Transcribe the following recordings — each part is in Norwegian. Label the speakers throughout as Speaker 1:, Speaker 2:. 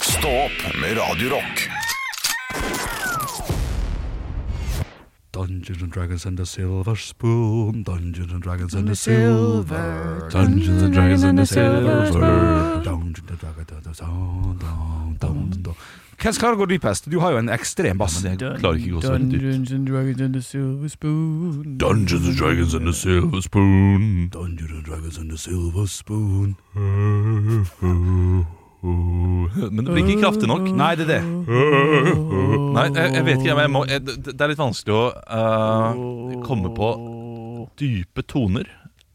Speaker 1: Stå opp med Radio Rock.
Speaker 2: Dungeons and Dragons and a silver spoon. Dungeons and Dragons and a silver. Dungeons and Dragons and a silver spoon. Dungeons and Dragons and a Hvem klarer å gå dypest? Du har jo en ekstrem bass.
Speaker 3: Jeg klarer ikke å gå så veldig dypt.
Speaker 4: Dungeons and Dragons and the Silver Spoon.
Speaker 3: Dungeons and Dragons and a Silver Spoon.
Speaker 2: Dungeons and Dragons and a silver spoon.
Speaker 3: Men det blir ikke kraftig nok.
Speaker 2: Nei, det er det.
Speaker 3: Nei, jeg, jeg vet ikke. Men jeg må, jeg, det det er litt vanskelig å eh, komme på dype toner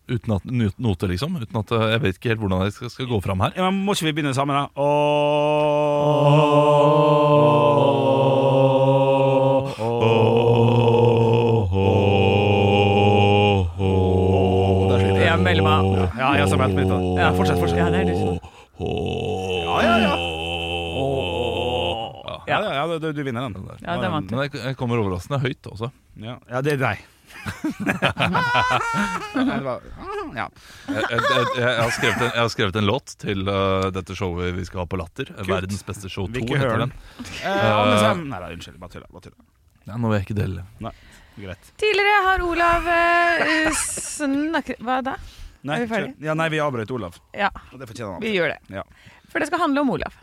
Speaker 3: uten at nyt- noter, liksom. Uten at eh, Jeg vet ikke helt hvordan jeg skal, skal gå fram her.
Speaker 2: Ja, men må ikke vi begynne sammen, da? Åh.
Speaker 4: Jeg melder meg.
Speaker 2: Ja, jeg har også meldt meg ut. da. Ja, fortsett, fortsett.
Speaker 4: Ja, det er liksom.
Speaker 2: Ja, ja, ja. Ja,
Speaker 4: Ja.
Speaker 2: ja, ja du, du vinner den.
Speaker 4: Ja, den vant
Speaker 3: Men jeg, jeg kommer overraskende høyt også.
Speaker 2: Ja, ja det er deg. ja, det var, ja.
Speaker 3: Jeg, jeg, jeg, jeg, har, skrevet en, jeg har skrevet en låt til eh, dette showet vi skal ha på Latter. Verdens beste show 2
Speaker 2: Hvilke hører
Speaker 3: heter
Speaker 2: den?
Speaker 3: den.
Speaker 2: Eh, Anne Sem Nei da, unnskyld. Bare tulla. bare tulla.
Speaker 3: Ja, nå vil jeg ikke dele.
Speaker 2: Greit.
Speaker 5: Tidligere har Olav eh, snakket Hva da?
Speaker 2: Nei,
Speaker 5: Er vi ferdig?
Speaker 2: kjør. ja, nei, vi avbrøt Olav.
Speaker 5: Ja,
Speaker 2: Og det fortjener han.
Speaker 5: vi gjør det.
Speaker 2: Ja.
Speaker 5: For det skal handle om Olav.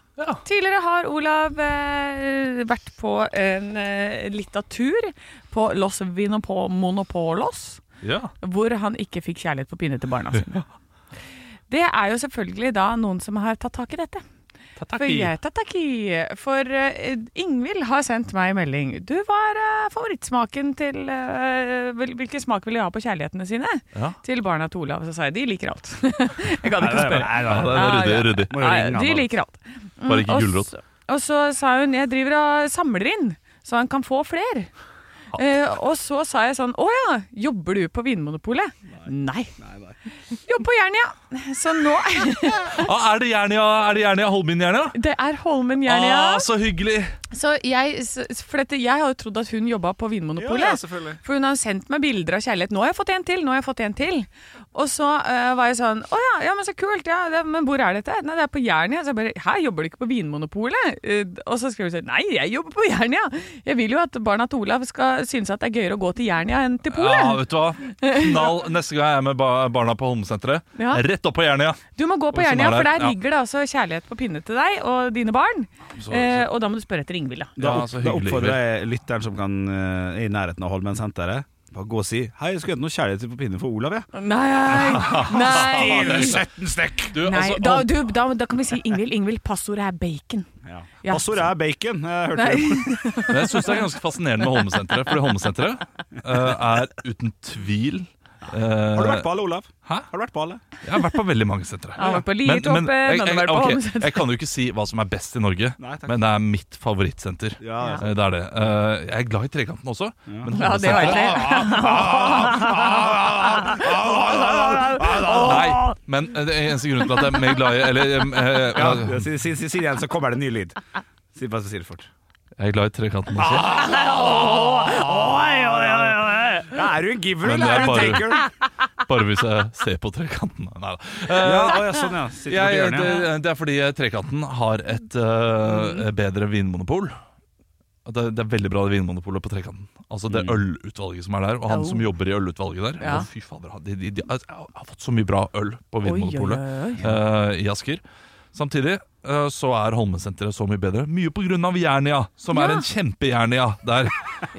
Speaker 5: Tidligere har Olav eh, vært på en eh, littatur på Los Vinopo Monopolos,
Speaker 3: Ja.
Speaker 5: hvor han ikke fikk kjærlighet på pinne til barna sine. Det er jo selvfølgelig da noen som har tatt tak i dette. For, jeg, tataki, for eh, Ingvild har sendt meg melding. Du var eh, favorittsmaken til eh, hvil- Hvilken smak vil de ha på kjærlighetene sine?
Speaker 3: Ja.
Speaker 5: Til barna til Olav. Så sa jeg de liker alt. jeg kan ikke
Speaker 2: Nei, nei,
Speaker 5: spørre.
Speaker 2: nei,
Speaker 3: Ja,
Speaker 2: nei,
Speaker 3: det er ryddig.
Speaker 5: Ja, ja.
Speaker 3: ryddig.
Speaker 2: Må jo
Speaker 5: Nei,
Speaker 2: ringe han,
Speaker 5: de
Speaker 2: da.
Speaker 5: liker alt. Mm,
Speaker 3: Bare ikke
Speaker 5: og
Speaker 3: gulrot.
Speaker 5: så- Og så sa hun jeg driver og samler inn, så han kan få fler.
Speaker 3: Ah.
Speaker 5: Eh, og så sa jeg sånn Å ja, jobber du på Vinmonopolet? Nei. Jobber på Jernia. Så nå
Speaker 3: Ah, er det Jernia? Er det Jernia? Holmin-Jernia?
Speaker 5: Det er Holmen-Jernia.
Speaker 3: Ah, så hyggelig!
Speaker 5: Så jeg, s- for dette, jeg har jo trodd at hun jobba på Vinmonopolet.
Speaker 2: Ja, ja, selvfølgelig.
Speaker 5: for hun har jo sendt meg bilder av kjærlighet. 'Nå har jeg fått en til!' nå har jeg fått en til Og så eh, var jeg sånn 'Å ja, ja, men så kult. Ja, det, men hvor er dette?' 'Nei, det er på Jernia.' Så jeg bare 'Hæ, jobber du ikke på Vinmonopolet?' Eh, og så skrev hun sånn 'Nei, jeg jobber på Jernia. Jeg vil jo at barna til Olav skal synes at det er gøyere å gå til Jernia enn til Polet.
Speaker 3: Ja, vet du hva? Knall neste gang jeg er med ba- barna på Holmsenteret.
Speaker 5: Ja.
Speaker 3: Rett opp på Jernia!
Speaker 5: Du må gå på
Speaker 3: Og som
Speaker 5: Jernia,
Speaker 3: er der,
Speaker 5: for der
Speaker 3: ja.
Speaker 5: ligger det altså kjærlighet på pinne til deg og dine barn. Eh, og da må du spørre etter Ingvild, da.
Speaker 2: Da,
Speaker 3: Ja,
Speaker 2: opp,
Speaker 3: så
Speaker 2: da
Speaker 3: hyggelig,
Speaker 2: oppfordrer jeg lytteren som kan, eh, er i nærheten av Holmen-senteret, bare gå og si 'Hei, jeg skulle hatt noe kjærlighet på pinne for Olav', jeg.
Speaker 5: Nei! Nei!
Speaker 2: 17 stykk!
Speaker 3: Du,
Speaker 5: Nei,
Speaker 3: altså,
Speaker 5: da,
Speaker 3: Hol-
Speaker 5: du, da, da kan vi si Ingvild. Ingvild, passordet er bacon.
Speaker 2: Ja.
Speaker 5: Ja.
Speaker 2: Passordet er bacon. Jeg hørte
Speaker 5: Nei.
Speaker 2: det.
Speaker 3: Men jeg syns det er ganske fascinerende med Holmesenteret. Fordi Holmesenteret eh, er uten tvil eh,
Speaker 2: Har du vært på alle, Olav?
Speaker 3: Hæ?
Speaker 2: Har du vært på alle?
Speaker 3: Jeg har vært på veldig mange sentre.
Speaker 5: Han har vært på
Speaker 3: Men-
Speaker 5: Liertoppen,
Speaker 3: men jeg-
Speaker 5: han har
Speaker 3: jeg-
Speaker 5: vært på
Speaker 3: ok,
Speaker 5: Holmesenteret.
Speaker 3: Jeg kan jo ikke si hva som er best i Norge,
Speaker 2: Nei, takk.
Speaker 3: men det er mitt favorittsenter.
Speaker 2: Ja,
Speaker 5: Ja.
Speaker 3: Eh, Det er det. Eh, Jeg er glad i Trekanten også, men
Speaker 5: Ja, det var
Speaker 3: Holmesenteret
Speaker 5: egentlig
Speaker 3: Nei, men eh, det er eneste grunnen til at jeg er mer glad i Eller eh,
Speaker 2: ja.
Speaker 3: eh,
Speaker 2: ja. Si, si, si, si det igjen, så kommer det en ny lyd. Si, bare si det fort.
Speaker 3: Jeg er glad i trekanten også.
Speaker 2: Ja, er du en giver
Speaker 3: Men
Speaker 2: eller er
Speaker 3: det
Speaker 2: du en
Speaker 3: er
Speaker 2: taker?
Speaker 3: Bare hvis jeg ser på trekanten. Nei da.
Speaker 2: Ja, å, ja, sånn ja. Sitter på
Speaker 3: Jeg,
Speaker 2: hjørnet.
Speaker 3: det, det er fordi trekanten har et eh,
Speaker 5: Mm.
Speaker 3: bedre vinmonopol. Det, det er veldig bra det vinmonopolet på trekanten. Altså Det ølutvalget som er der, og han
Speaker 5: Oh.
Speaker 3: som jobber i ølutvalget der.
Speaker 5: Mm. Ja.
Speaker 3: Å, fy fader, han- de, de, de har har fått så mye bra øl på vinmonopolet
Speaker 5: Oi, oi, oi.
Speaker 3: eh, i Asker. Samtidig eh, så er Holmensenteret så mye bedre. Mye pga. Jernia, som
Speaker 5: Ja.
Speaker 3: er en kjempejernia der.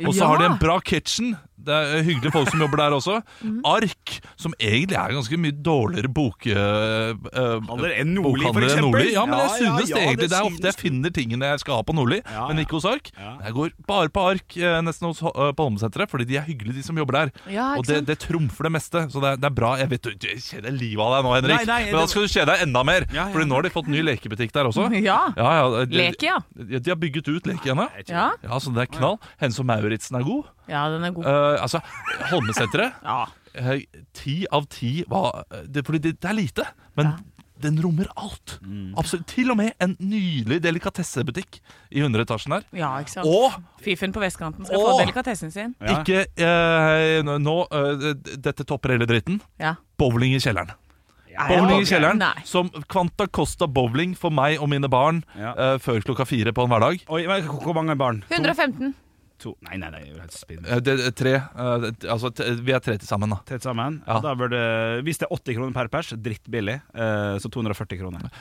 Speaker 3: Og så
Speaker 5: Ja.
Speaker 3: har de en bra kitchen. Det er hyggelige folk som jobber der også.
Speaker 5: Mm.
Speaker 3: Ark, som egentlig er ganske mye dårligere bok... eh, eh,
Speaker 2: Handler en Nordli, for
Speaker 3: bokhandler enn
Speaker 2: eksempel?
Speaker 3: Nordli. Ja, men jeg
Speaker 2: Ja, ja,
Speaker 3: synes
Speaker 2: ja,
Speaker 3: det egentlig.
Speaker 2: det
Speaker 3: Det er ofte jeg
Speaker 2: synes du.
Speaker 3: finner tingene jeg skal ha på Nordli,
Speaker 2: Ja,
Speaker 3: men
Speaker 2: ja.
Speaker 3: ikke hos Ark.
Speaker 2: Ja.
Speaker 3: Jeg går bare på Ark eh, nesten hos, eh, på Holmesenteret, fordi de er hyggelige, de som jobber der.
Speaker 5: Ja,
Speaker 3: Og
Speaker 5: ikke
Speaker 3: det,
Speaker 5: sant?
Speaker 3: det trumfer det meste, så det er, det er bra. Jeg vet du jeg kjeder livet av deg nå, Henrik,
Speaker 2: Nei, nei,
Speaker 3: men da
Speaker 2: det-
Speaker 3: skal du kjede deg enda mer.
Speaker 2: Ja, ja.
Speaker 3: Fordi nå har de fått ny lekebutikk der også.
Speaker 5: Mm, Ja.
Speaker 3: Ja, ja, de,
Speaker 5: Leke, ja.
Speaker 3: De, de har bygget ut lekene.
Speaker 5: Ja.
Speaker 3: Ja, så det er knall. Hennes og Mauritsen er god.
Speaker 5: ja, den er god.
Speaker 3: Eh, altså, Holmesenteret
Speaker 5: Ja.
Speaker 3: eh, Ti av ti var eh, det, Fordi det, det er lite, men den rommer alt.
Speaker 2: Mm.
Speaker 3: Absolutt. Til og med en nydelig delikatessebutikk i 100 etasjen her.
Speaker 5: ja, ikke sant.
Speaker 3: Og
Speaker 5: Fiffen på vestkanten skal
Speaker 3: Åh!
Speaker 5: få delikatessen sin.
Speaker 2: Ja.
Speaker 3: ikke eh, Nå eh, Dette topper hele dritten.
Speaker 5: Ja.
Speaker 3: Bowling i kjelleren. Bowling i kjelleren
Speaker 5: Nei.
Speaker 3: som Quanta Costa Bowling for meg og mine barn
Speaker 2: Ja.
Speaker 3: eh, før klokka fire på en hverdag.
Speaker 2: Oi, men hvor hvor mange barn? To?
Speaker 5: 115.
Speaker 2: to. Nei, nei, nei, det er jo helt spinn.
Speaker 3: Eh, det, tre, eh, det- altså, t vi er tre til sammen, da.
Speaker 2: Tett sammen.
Speaker 3: Ja.
Speaker 2: Da bør det, hvis det er 80 kroner per pers, drittbillig, eh, så 240 kroner.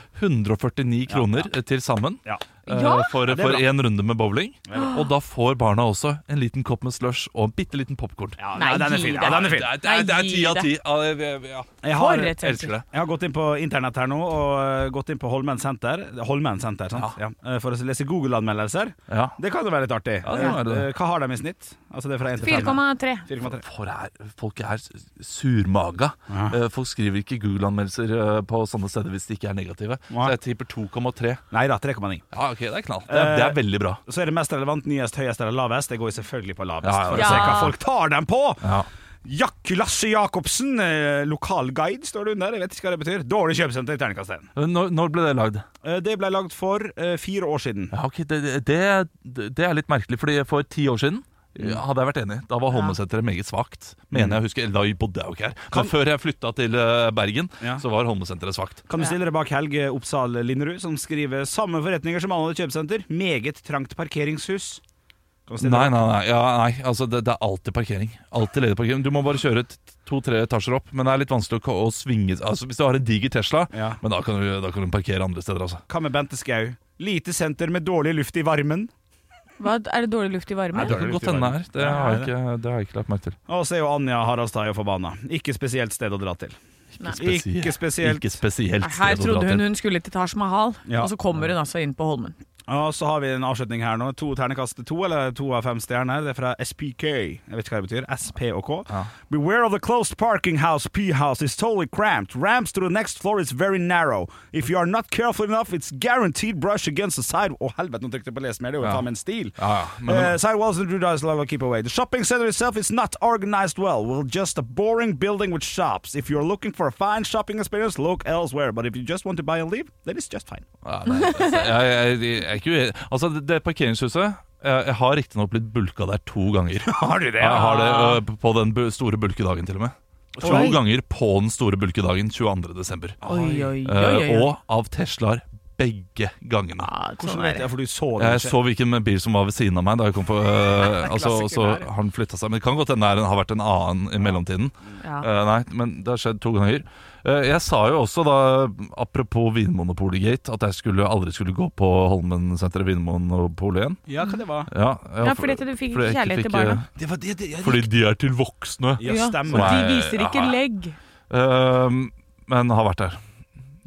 Speaker 3: 149 kroner eh, til sammen
Speaker 2: Ja.
Speaker 3: eh,
Speaker 5: Ja.
Speaker 3: for
Speaker 2: det er bra.
Speaker 3: én runde med bowling.
Speaker 2: Det er bra.
Speaker 3: Og da får barna også en liten kopp med slush og en bitte liten popkorn.
Speaker 2: Ja,
Speaker 5: Nei,
Speaker 2: den er fin.
Speaker 5: gi
Speaker 2: Ja,
Speaker 5: deg.
Speaker 2: den er fin.
Speaker 3: Det er- det er- det er
Speaker 5: Nei,
Speaker 3: ti
Speaker 5: gi
Speaker 3: av
Speaker 5: det.
Speaker 3: ti. Ja, det- vi- Ja,
Speaker 2: Jeg
Speaker 5: For
Speaker 2: har,
Speaker 5: et
Speaker 2: jeg
Speaker 3: elsker det.
Speaker 2: har gått inn på internett her nå og eh, gått inn på Holmen senter, Holmen senter sant? Ja. Eh, for å lese Google-anmeldelser.
Speaker 3: Ja.
Speaker 2: Det kan jo være litt artig.
Speaker 3: Ja, det kan være det.
Speaker 2: Eh, Hva har de i snitt? Altså det er fra 1 til 5.
Speaker 5: 4,3.
Speaker 2: 4,3.
Speaker 3: For er, folk er surmaga.
Speaker 2: Ja.
Speaker 3: Eh, Folk skriver ikke Google-anmeldelser eh, på sånne steder hvis de ikke er negative. Så
Speaker 2: Nei.
Speaker 3: jeg tipper 2,3.
Speaker 2: Nei da, 3,9.
Speaker 3: Ja, ok, det er knall. Det er, det er veldig bra.
Speaker 2: Så er det mest relevant nyest, høyest eller lavest. Det går jo selvfølgelig på lavest,
Speaker 3: Ja, ja,
Speaker 2: for
Speaker 5: ja.
Speaker 2: å se hva folk tar dem på.
Speaker 3: Ja.
Speaker 2: Jack Lasse Jacobsen, eh, lokalguide, står det under. Jeg vet ikke hva det betyr. Dårlig kjøpesenter i terningkast 1.
Speaker 3: Når, når ble det lagd?
Speaker 2: Eh, Det ble lagd for eh, fire år siden.
Speaker 3: Ja, ok, det, det, det er litt merkelig, fordi for ti år siden ja, hadde jeg vært enig. Da var Holmesenteret meget svakt. Mener jeg husker, eller Da bodde jeg jo ikke her. Men før jeg flytta til eh, Bergen,
Speaker 2: Ja.
Speaker 3: så var Holmesenteret svakt.
Speaker 2: Kan du stille deg bak Helge Oppsal Linderud, som skriver samme forretninger som alle kjøpesenter. Meget trangt parkeringshus. Kan du stille
Speaker 3: Nei,
Speaker 2: deg-
Speaker 3: nei, nei. Ja, nei. Altså, det, det er alltid parkering. Alltid ledig parkering. Du må bare kjøre to-tre etasjer opp, men det er litt vanskelig å, ko- å svinge Altså, Hvis du har en diger Tesla,
Speaker 2: Ja.
Speaker 3: men da kan, du, da kan du parkere andre steder, altså.
Speaker 2: Hva med Bente Skau? Lite senter med dårlig luft i varmen.
Speaker 5: Hva, er det dårlig luft i varme?
Speaker 2: Nei,
Speaker 3: Det kan godt hende det er. Det har jeg
Speaker 2: det
Speaker 3: ikke, det har jeg ikke lagt merke til.
Speaker 2: Og så er jo Anja Haraldstad jo forbanna. Ikke spesielt sted å dra til.
Speaker 5: Nei.
Speaker 3: Spesielt-
Speaker 2: Ikke spesielt.
Speaker 3: Ikke spesielt
Speaker 5: Her
Speaker 3: sted å dra
Speaker 5: trodde hun
Speaker 3: til.
Speaker 5: hun skulle til Taj Mahal,
Speaker 2: Ja.
Speaker 5: og så kommer hun altså inn på Holmen.
Speaker 2: Og så har vi en avslutning her nå. To ternekast to, eller to av fem stjerner. Det er fra SPK. Jeg vet ikke hva det betyr. SP og K.
Speaker 3: Ja.
Speaker 2: Beware of the closed parking house. P-house is totally cramped. Ramps to the next floor is very narrow. If you are not careful enough, it's guaranteed brush against the side. Å, helvete, nå trykte jeg på les mer. Det er jo
Speaker 3: Ja.
Speaker 2: faen meg en stil.
Speaker 3: Ja, ja. Men,
Speaker 2: Uh, sidewalls and Drudice level keep away. The shopping center itself is not organized well. Well, just a boring building with shops. If you're looking for a fine shopping experience, look elsewhere. But if you just want to buy and leave, then it's just fine.
Speaker 3: ja, nei, altså, jeg, jeg, jeg er ikke uenig. Altså, det- det parkeringshuset Jeg, jeg har riktignok blitt bulka der to ganger.
Speaker 2: Har du det?
Speaker 3: Jeg har det Ah. ø, på den bu- store bulkedagen, til og med. To
Speaker 5: Oi.
Speaker 3: ganger på den store bulkedagen 22. desember.
Speaker 5: Oi, oi, oi, oi.
Speaker 3: Eh,
Speaker 5: oi.
Speaker 3: og av Teslaer begge gangene.
Speaker 5: Ja,
Speaker 2: Hvordan
Speaker 5: sånn
Speaker 2: vet jeg,
Speaker 5: er det.
Speaker 2: for du så det
Speaker 3: Jeg så hvilken bil som var ved siden av meg da jeg kom på eh, altså,
Speaker 2: Klassiker
Speaker 3: og Så
Speaker 2: der.
Speaker 3: har den flytta seg. Men det kan godt hende det har vært en annen i mellomtiden.
Speaker 5: Ja.
Speaker 3: Eh, nei, men det har skjedd to ganger. Eh, jeg sa jo også, da, apropos Vinmonopolet Gate, at jeg skulle, aldri skulle gå på Holmensenteret Vinmonopolet igjen.
Speaker 2: Ja, hva det var?
Speaker 3: Ja,
Speaker 5: Ja, fordi at du fikk
Speaker 3: fordi jeg ikke
Speaker 5: ikke kjærlighet til
Speaker 3: fikk, eh,
Speaker 5: barna.
Speaker 2: Det var det, det, ja,
Speaker 3: Fordi de er til voksne.
Speaker 2: ja,
Speaker 5: Ja.
Speaker 3: Som
Speaker 2: stemmer.
Speaker 3: er-
Speaker 5: De
Speaker 3: Nei,
Speaker 5: viser ikke
Speaker 3: aha.
Speaker 5: legg.
Speaker 3: Eh, men har vært der.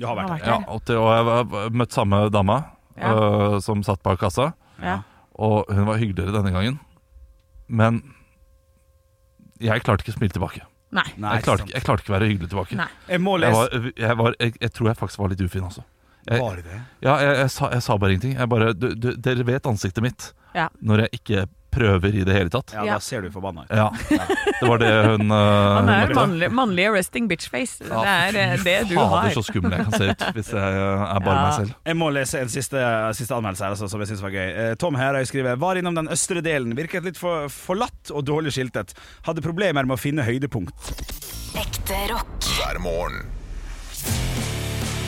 Speaker 2: Jeg har vært der.
Speaker 3: Ja, og, til, og jeg var- møtte samme dama øh, som satt bak kassa,
Speaker 5: Ja.
Speaker 3: og hun var hyggeligere denne gangen. Men jeg klarte ikke å smile tilbake.
Speaker 5: Nei.
Speaker 2: Nei,
Speaker 3: Jeg klarte, ikke- jeg klarte ikke å være hyggelig tilbake.
Speaker 5: Nei.
Speaker 2: Jeg må
Speaker 3: Jeg,
Speaker 2: lese.
Speaker 3: var, jeg, var, jeg, jeg tror jeg faktisk var litt ufin også. jeg-
Speaker 2: Var det det?
Speaker 3: Ja, jeg, jeg, sa, jeg sa bare ingenting. Jeg bare, du, du, dere vet ansiktet mitt
Speaker 5: Ja.
Speaker 3: når jeg ikke prøver i det hele tatt.
Speaker 2: Ja,
Speaker 5: Ja.
Speaker 2: da ser du forbanna ut.
Speaker 3: Ja, det var det hun øh,
Speaker 5: Han er
Speaker 3: hun-
Speaker 5: mannlig, mannlig arresting bitch-face. Det er eh, det du har.
Speaker 3: Fader, så skummel jeg kan se ut hvis jeg øh, er bare
Speaker 5: Ja.
Speaker 3: meg selv.
Speaker 2: Jeg må lese en siste, siste anmeldelse her, altså, som jeg synes var gøy. Eh, Tom Herøy skriver Var innom den østre delen. Virket litt for, forlatt og dårlig skiltet. Hadde problemer med å finne høydepunkt.
Speaker 4: Ekte rock.
Speaker 6: hver morgen.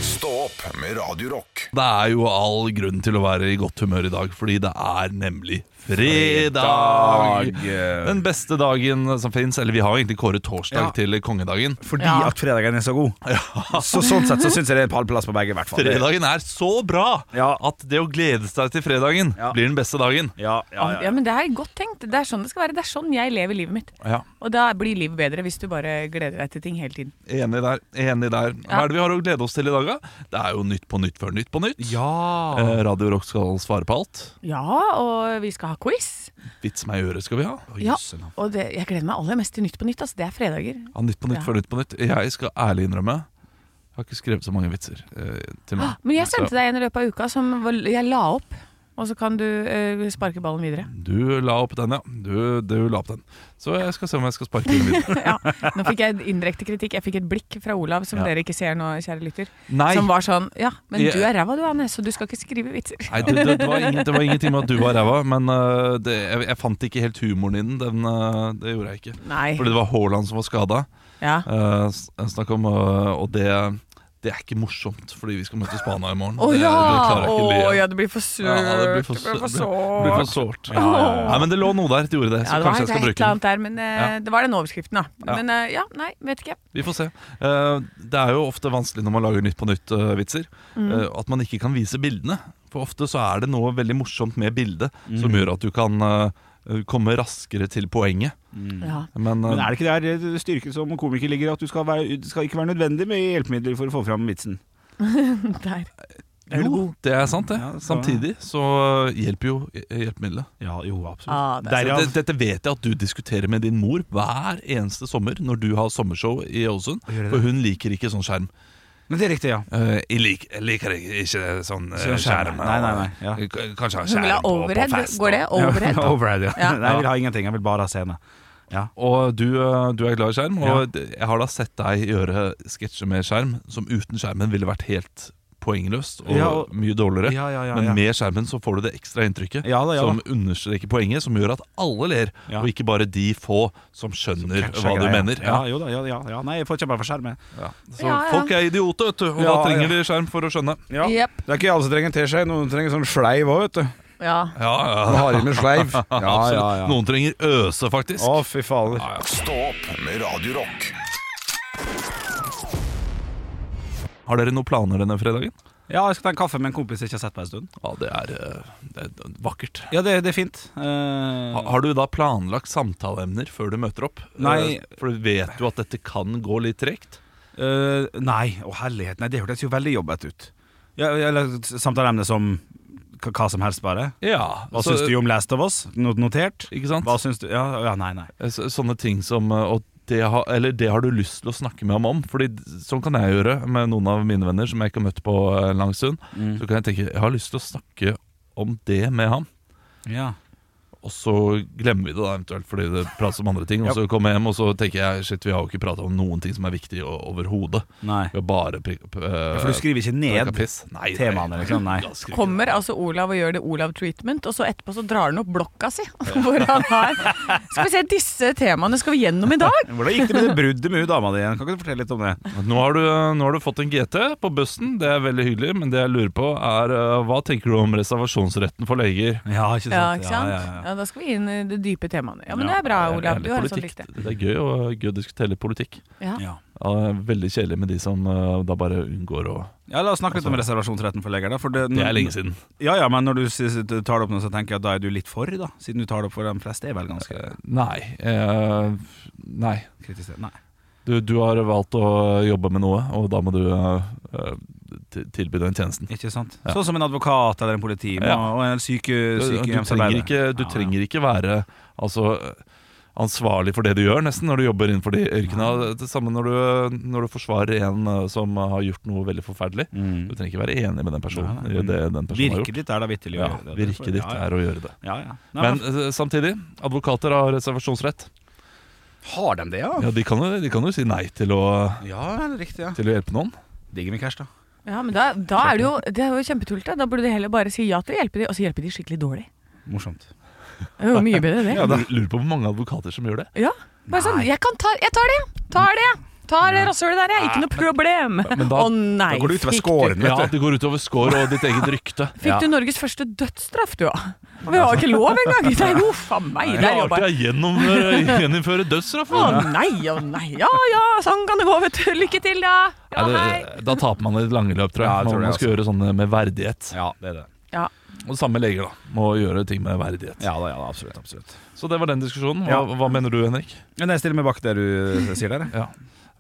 Speaker 6: Stå opp med Radio Rock.
Speaker 3: Det er jo all grunn til å være i godt humør i dag, fordi det er nemlig fredag! Den beste dagen som fins. Eller vi har jo egentlig kåret torsdag
Speaker 2: Ja.
Speaker 3: til kongedagen.
Speaker 2: Fordi
Speaker 5: Ja.
Speaker 2: at fredagen er så god. Så sånn sett så syns jeg det er en pallplass på begge, i hvert fall.
Speaker 3: Fredagen er så bra
Speaker 2: Ja.
Speaker 3: at det å glede seg til fredagen
Speaker 2: Ja.
Speaker 3: blir den beste dagen.
Speaker 2: Ja, ja, ja.
Speaker 5: Ja, men Det er godt tenkt. Det er sånn det skal være. Det er sånn jeg lever livet mitt.
Speaker 3: Ja,
Speaker 5: Og da blir livet bedre hvis du bare gleder deg til ting hele tiden.
Speaker 3: Enig der. enig der Hva
Speaker 5: Ja.
Speaker 3: er det vi har å glede oss til i dag, da? Det er jo Nytt på nytt før Nytt på nytt.
Speaker 2: ja.
Speaker 3: Eh, Radio Rock skal svare på alt.
Speaker 5: Ja, og vi skal ha quiz.
Speaker 3: Vits meg i øret skal vi ha.
Speaker 5: Ja, og det, Jeg gleder meg aller mest til Nytt på nytt. Altså, det er fredager.
Speaker 3: Ja, nytt på nytt
Speaker 5: Ja.
Speaker 3: før Nytt på nytt. Jeg skal ærlig innrømme, jeg har ikke skrevet så mange vitser eh, til nå.
Speaker 5: Men jeg
Speaker 3: Så-
Speaker 5: sendte deg en i løpet av uka som var- jeg la opp. Og så kan du eh, sparke ballen videre.
Speaker 3: Du la opp den, ja. Du, du la opp den. Så jeg skal se om jeg skal sparke den videre.
Speaker 5: ja. Nå fikk jeg indirekte kritikk. Jeg fikk et blikk fra Olav, som
Speaker 3: Ja.
Speaker 5: dere ikke ser nå, kjære lytter.
Speaker 3: Nei,
Speaker 5: Som var sånn Ja, men
Speaker 3: Jeg-
Speaker 5: du er ræva du, Anne, så du skal ikke skrive vitser.
Speaker 3: Nei det, det, det, var ingen, det var ingenting med at du var ræva, men eh, det, jeg, jeg fant ikke helt humoren i den. den eh, det gjorde jeg ikke.
Speaker 5: Nei.
Speaker 3: Fordi det var Haaland som var skada.
Speaker 5: Ja.
Speaker 3: Uh, snakk om eh, Og det Det er ikke morsomt, fordi vi skal møte Spania i morgen.
Speaker 5: Å
Speaker 3: Det-
Speaker 5: ja!
Speaker 3: det Eh, klarer jeg
Speaker 5: Å
Speaker 3: ikke å le av.
Speaker 5: ja, det blir for surt.
Speaker 3: Ja, det blir for,
Speaker 5: det blir for
Speaker 3: sø- det blir for
Speaker 5: sårt.
Speaker 3: sårt. Nei, men det lå noe der. Det gjorde det. Så
Speaker 5: Ja, det var
Speaker 3: kanskje
Speaker 5: et
Speaker 3: jeg skal
Speaker 5: eller
Speaker 3: bruke den.
Speaker 5: annet der, men eh,
Speaker 3: Ja.
Speaker 5: det var den overskriften, da.
Speaker 3: Ja.
Speaker 5: Men eh, ja, nei, vet ikke.
Speaker 3: Vi får se. Eh, det er jo ofte vanskelig når man lager Nytt på nytt-vitser.
Speaker 5: Mm.
Speaker 3: at man ikke kan vise bildene. For ofte så er det noe veldig morsomt med bildet
Speaker 2: Mm.
Speaker 3: som gjør at du kan eh, komme raskere til poenget.
Speaker 5: Ja.
Speaker 3: Men, eh,
Speaker 2: Men er det ikke der styrken som komiker ligger, at du skal, være, det skal ikke være nødvendig med hjelpemidler for å få fram vitsen?
Speaker 5: Der.
Speaker 3: jo, det er sant, det.
Speaker 2: Ja, det skal-
Speaker 3: Samtidig så eh, hjelper jo hjelpemiddelet.
Speaker 2: Ja, jo, absolutt.
Speaker 5: Ah, det er
Speaker 2: Derav-
Speaker 3: Det- Dette vet jeg at du diskuterer med din mor hver eneste sommer når du har sommershow i Ålesund.
Speaker 2: Gjør jeg det?
Speaker 3: For hun liker ikke sånn skjerm.
Speaker 2: Men det er riktig, ja.
Speaker 3: Eh, jeg, lik, jeg liker ikke, ikke sånn eh,
Speaker 2: Sånn skjerm.
Speaker 3: skjerm.
Speaker 2: Nei, nei, nei, ja.
Speaker 3: K- Kanskje ha
Speaker 5: Hun vil ha
Speaker 3: skjerm på, på
Speaker 5: overhead.
Speaker 3: fest.
Speaker 5: Går det? Overhead?
Speaker 2: Overhead, ja.
Speaker 5: Ja.
Speaker 2: Nei, jeg vil ha ingenting, jeg vil bare ha scene.
Speaker 3: Og du, eh, du er glad i skjerm, og
Speaker 2: Ja.
Speaker 3: d- jeg har da sett deg gjøre sketsjer med skjerm som uten skjermen ville vært helt poengløst og
Speaker 2: Ja, og-
Speaker 3: mye dårligere.
Speaker 2: Ja, ja, ja,
Speaker 3: Men
Speaker 2: ja.
Speaker 3: med skjermen så får du det ekstra inntrykket
Speaker 2: Ja da, ja da.
Speaker 3: som understreker poenget, som gjør at alle ler,
Speaker 2: Ja.
Speaker 3: og ikke bare de få som skjønner
Speaker 2: Catcher
Speaker 3: hva du
Speaker 2: greia.
Speaker 3: mener.
Speaker 2: Ja, jo da, ja, ja, ja. Nei, jeg får kjempa for skjerm, jeg.
Speaker 3: Ja. Så
Speaker 5: Ja, ja.
Speaker 3: folk er idioter, vet du, og
Speaker 2: Ja,
Speaker 3: da trenger
Speaker 2: ja.
Speaker 3: de skjerm for å skjønne.
Speaker 5: Ja. Jep.
Speaker 7: Det er ikke alle som trenger teskje. Noen trenger sånn sleiv òg, vet du.
Speaker 5: Ja.
Speaker 3: Ja, ja,
Speaker 7: Man har i med sleiv. Ja,
Speaker 3: absolutt.
Speaker 7: ja, ja.
Speaker 3: Noen trenger øse, faktisk.
Speaker 7: Å, fy fader.
Speaker 6: Stå opp med Radio Rock.
Speaker 3: Har dere noen planer denne fredagen?
Speaker 2: Ja, jeg skal ta en kaffe med en kompis jeg ikke har sett på en stund.
Speaker 3: Ja, det er, eh, det er vakkert.
Speaker 2: Ja, det, det er fint. Eh,
Speaker 3: Ha- Har du da planlagt samtaleemner før du møter opp?
Speaker 2: Nei.
Speaker 3: Eh, For du vet jo at dette kan gå litt tregt.
Speaker 2: eh, nei, å herlighet, nei, det hørtes jo veldig jobbete ut. Ja, eller samtaleemne som k- hva som helst, bare.
Speaker 3: Ja,
Speaker 2: Hva syns du om Last of Us? No- Notert?
Speaker 3: Ikke sant?
Speaker 2: Hva syns du Ja, ja nei, nei.
Speaker 3: Eh, så- Sånne ting som eh, og det har, Eller det har du lyst til å snakke med ham om. Fordi d- sånn kan jeg gjøre med noen av mine venner som jeg ikke har møtt på eh, en lang stund.
Speaker 2: Mm.
Speaker 3: Så kan jeg tenke jeg har lyst til å snakke om det med ham.
Speaker 2: Ja.
Speaker 3: Og så glemmer vi det da eventuelt fordi det prates om andre ting. Og så kommer jeg hjem og så tenker jeg shit, vi har jo ikke prata om noen ting som er viktig o- overhodet.
Speaker 2: Nei.
Speaker 3: Vi har bare pri- p- eh,
Speaker 2: For du skriver ikke ned
Speaker 3: prikket piss. Nei,
Speaker 2: temaene, liksom? Nei.
Speaker 3: Da skriver jeg
Speaker 5: Kommer altså Olav og gjør det Olav treatment, og så etterpå så drar han opp blokka si. Hvor han har Skal vi se, disse temaene skal vi gjennom i dag.
Speaker 2: Hvordan gikk det med det bruddet med hun dama di igjen? Kan ikke du fortelle litt om det?
Speaker 3: Nå har, du, nå har du fått en GT på bussen, det er veldig hyggelig, men det jeg lurer på er eh, hva tenker du om reservasjonsretten for leger?
Speaker 2: Ja, ikke sant?
Speaker 5: Ja, ikke sant?
Speaker 2: Ja, ja, ja.
Speaker 5: Ja, da skal vi inn i de dype temaene. Ja, men
Speaker 2: Ja,
Speaker 5: det er bra,
Speaker 3: Det er
Speaker 5: Olav.
Speaker 3: litt
Speaker 5: Du har en sånn
Speaker 3: Eh, politikk.
Speaker 5: riktig.
Speaker 3: Det er gøy, å- gøy å diskutere litt politikk.
Speaker 5: Ja.
Speaker 2: Ja.
Speaker 3: Ja, det er veldig kjedelig med de som eh, da bare unngår å
Speaker 2: Ja, La oss snakke litt om reservasjonsretten for leger. da for
Speaker 3: Det er lenge siden.
Speaker 2: Ja, ja, men når du s- s- tar det opp nå, så tenker jeg at da er du litt for, da. Siden du tar det opp for de fleste, er vel ganske
Speaker 3: Nei. eh, nei.
Speaker 2: kritisert. Nei.
Speaker 3: Du, du har valgt å jobbe med noe, og da må du eh, eh, t- tilby den tjenesten.
Speaker 2: Ikke sant?
Speaker 3: Ja.
Speaker 2: Sånn som en advokat eller en politi
Speaker 3: Ja.
Speaker 2: og- og en syke,
Speaker 3: Du, du, trenger
Speaker 2: sykehjemsarbeider.
Speaker 3: ikke, du
Speaker 2: Ja, ja.
Speaker 3: trenger ikke være altså, ansvarlig for det du gjør, nesten, når du jobber innenfor de yrkene. Det samme når du, når du forsvarer en eh, som har gjort noe veldig forferdelig. Du
Speaker 2: Mm.
Speaker 3: trenger ikke være enig med den personen
Speaker 2: Nei, nei.
Speaker 3: i det den personen har
Speaker 2: Virket
Speaker 3: gjort.
Speaker 2: ditt er da vitterlig å
Speaker 3: Ja,
Speaker 2: gjøre det.
Speaker 3: virket ditt
Speaker 2: ja, ja.
Speaker 3: er å gjøre det.
Speaker 2: Ja, ja. Nei,
Speaker 3: Men eh, samtidig, advokater har reservasjonsrett.
Speaker 7: Har de det, ja?
Speaker 3: Ja, de kan jo, de kan jo si nei til å,
Speaker 2: Ja, vel, riktig. ja
Speaker 3: til å hjelpe noen.
Speaker 2: Digger med cash, da.
Speaker 5: Ja, men da, da er det jo Det er jo kjempetullete. Da burde de heller bare si ja til å hjelpe de, og så hjelpe de skikkelig dårlig.
Speaker 2: Morsomt.
Speaker 5: Det er jo mye bedre, det.
Speaker 3: Jeg lurer på hvor mange advokater som gjør det.
Speaker 5: Ja, bare sånn, jeg kan ta, jeg tar det, tar det, tar det rasshølet der, jeg, ikke noe problem. Å
Speaker 3: da-
Speaker 5: nei,
Speaker 7: Da går det utover
Speaker 5: fikk du,
Speaker 7: skåren,
Speaker 3: Ja,
Speaker 7: vet du.
Speaker 3: det går utover score og ditt eget rykte.
Speaker 5: fikk du Norges første dødsstraff, du, da? Og vi har ikke lov engang, det er jo faen meg, det er
Speaker 3: Klarte
Speaker 5: jo bare...
Speaker 3: jeg gjennomføre- gjeninnføre dødsstraff?
Speaker 5: Å
Speaker 3: da?
Speaker 5: nei, å nei, ja, ja, sånn kan det gå, vet du, lykke til da, ja,
Speaker 3: Nei,
Speaker 5: hei.
Speaker 3: det, da taper man i det lange løp, tror jeg.
Speaker 2: Ja, jeg tror
Speaker 3: man,
Speaker 2: det,
Speaker 3: man skal gjøre sånne med verdighet.
Speaker 2: Ja, det er det.
Speaker 5: Ja,
Speaker 3: Og det samme med leger, da. Må gjøre ting med verdighet.
Speaker 2: Ja da, ja da, absolutt. absolutt
Speaker 3: Så det var den diskusjonen. Hva,
Speaker 2: Ja.
Speaker 3: hva mener du, Henrik?
Speaker 2: Men jeg stiller meg bak det du sier der. jeg.
Speaker 3: Ja.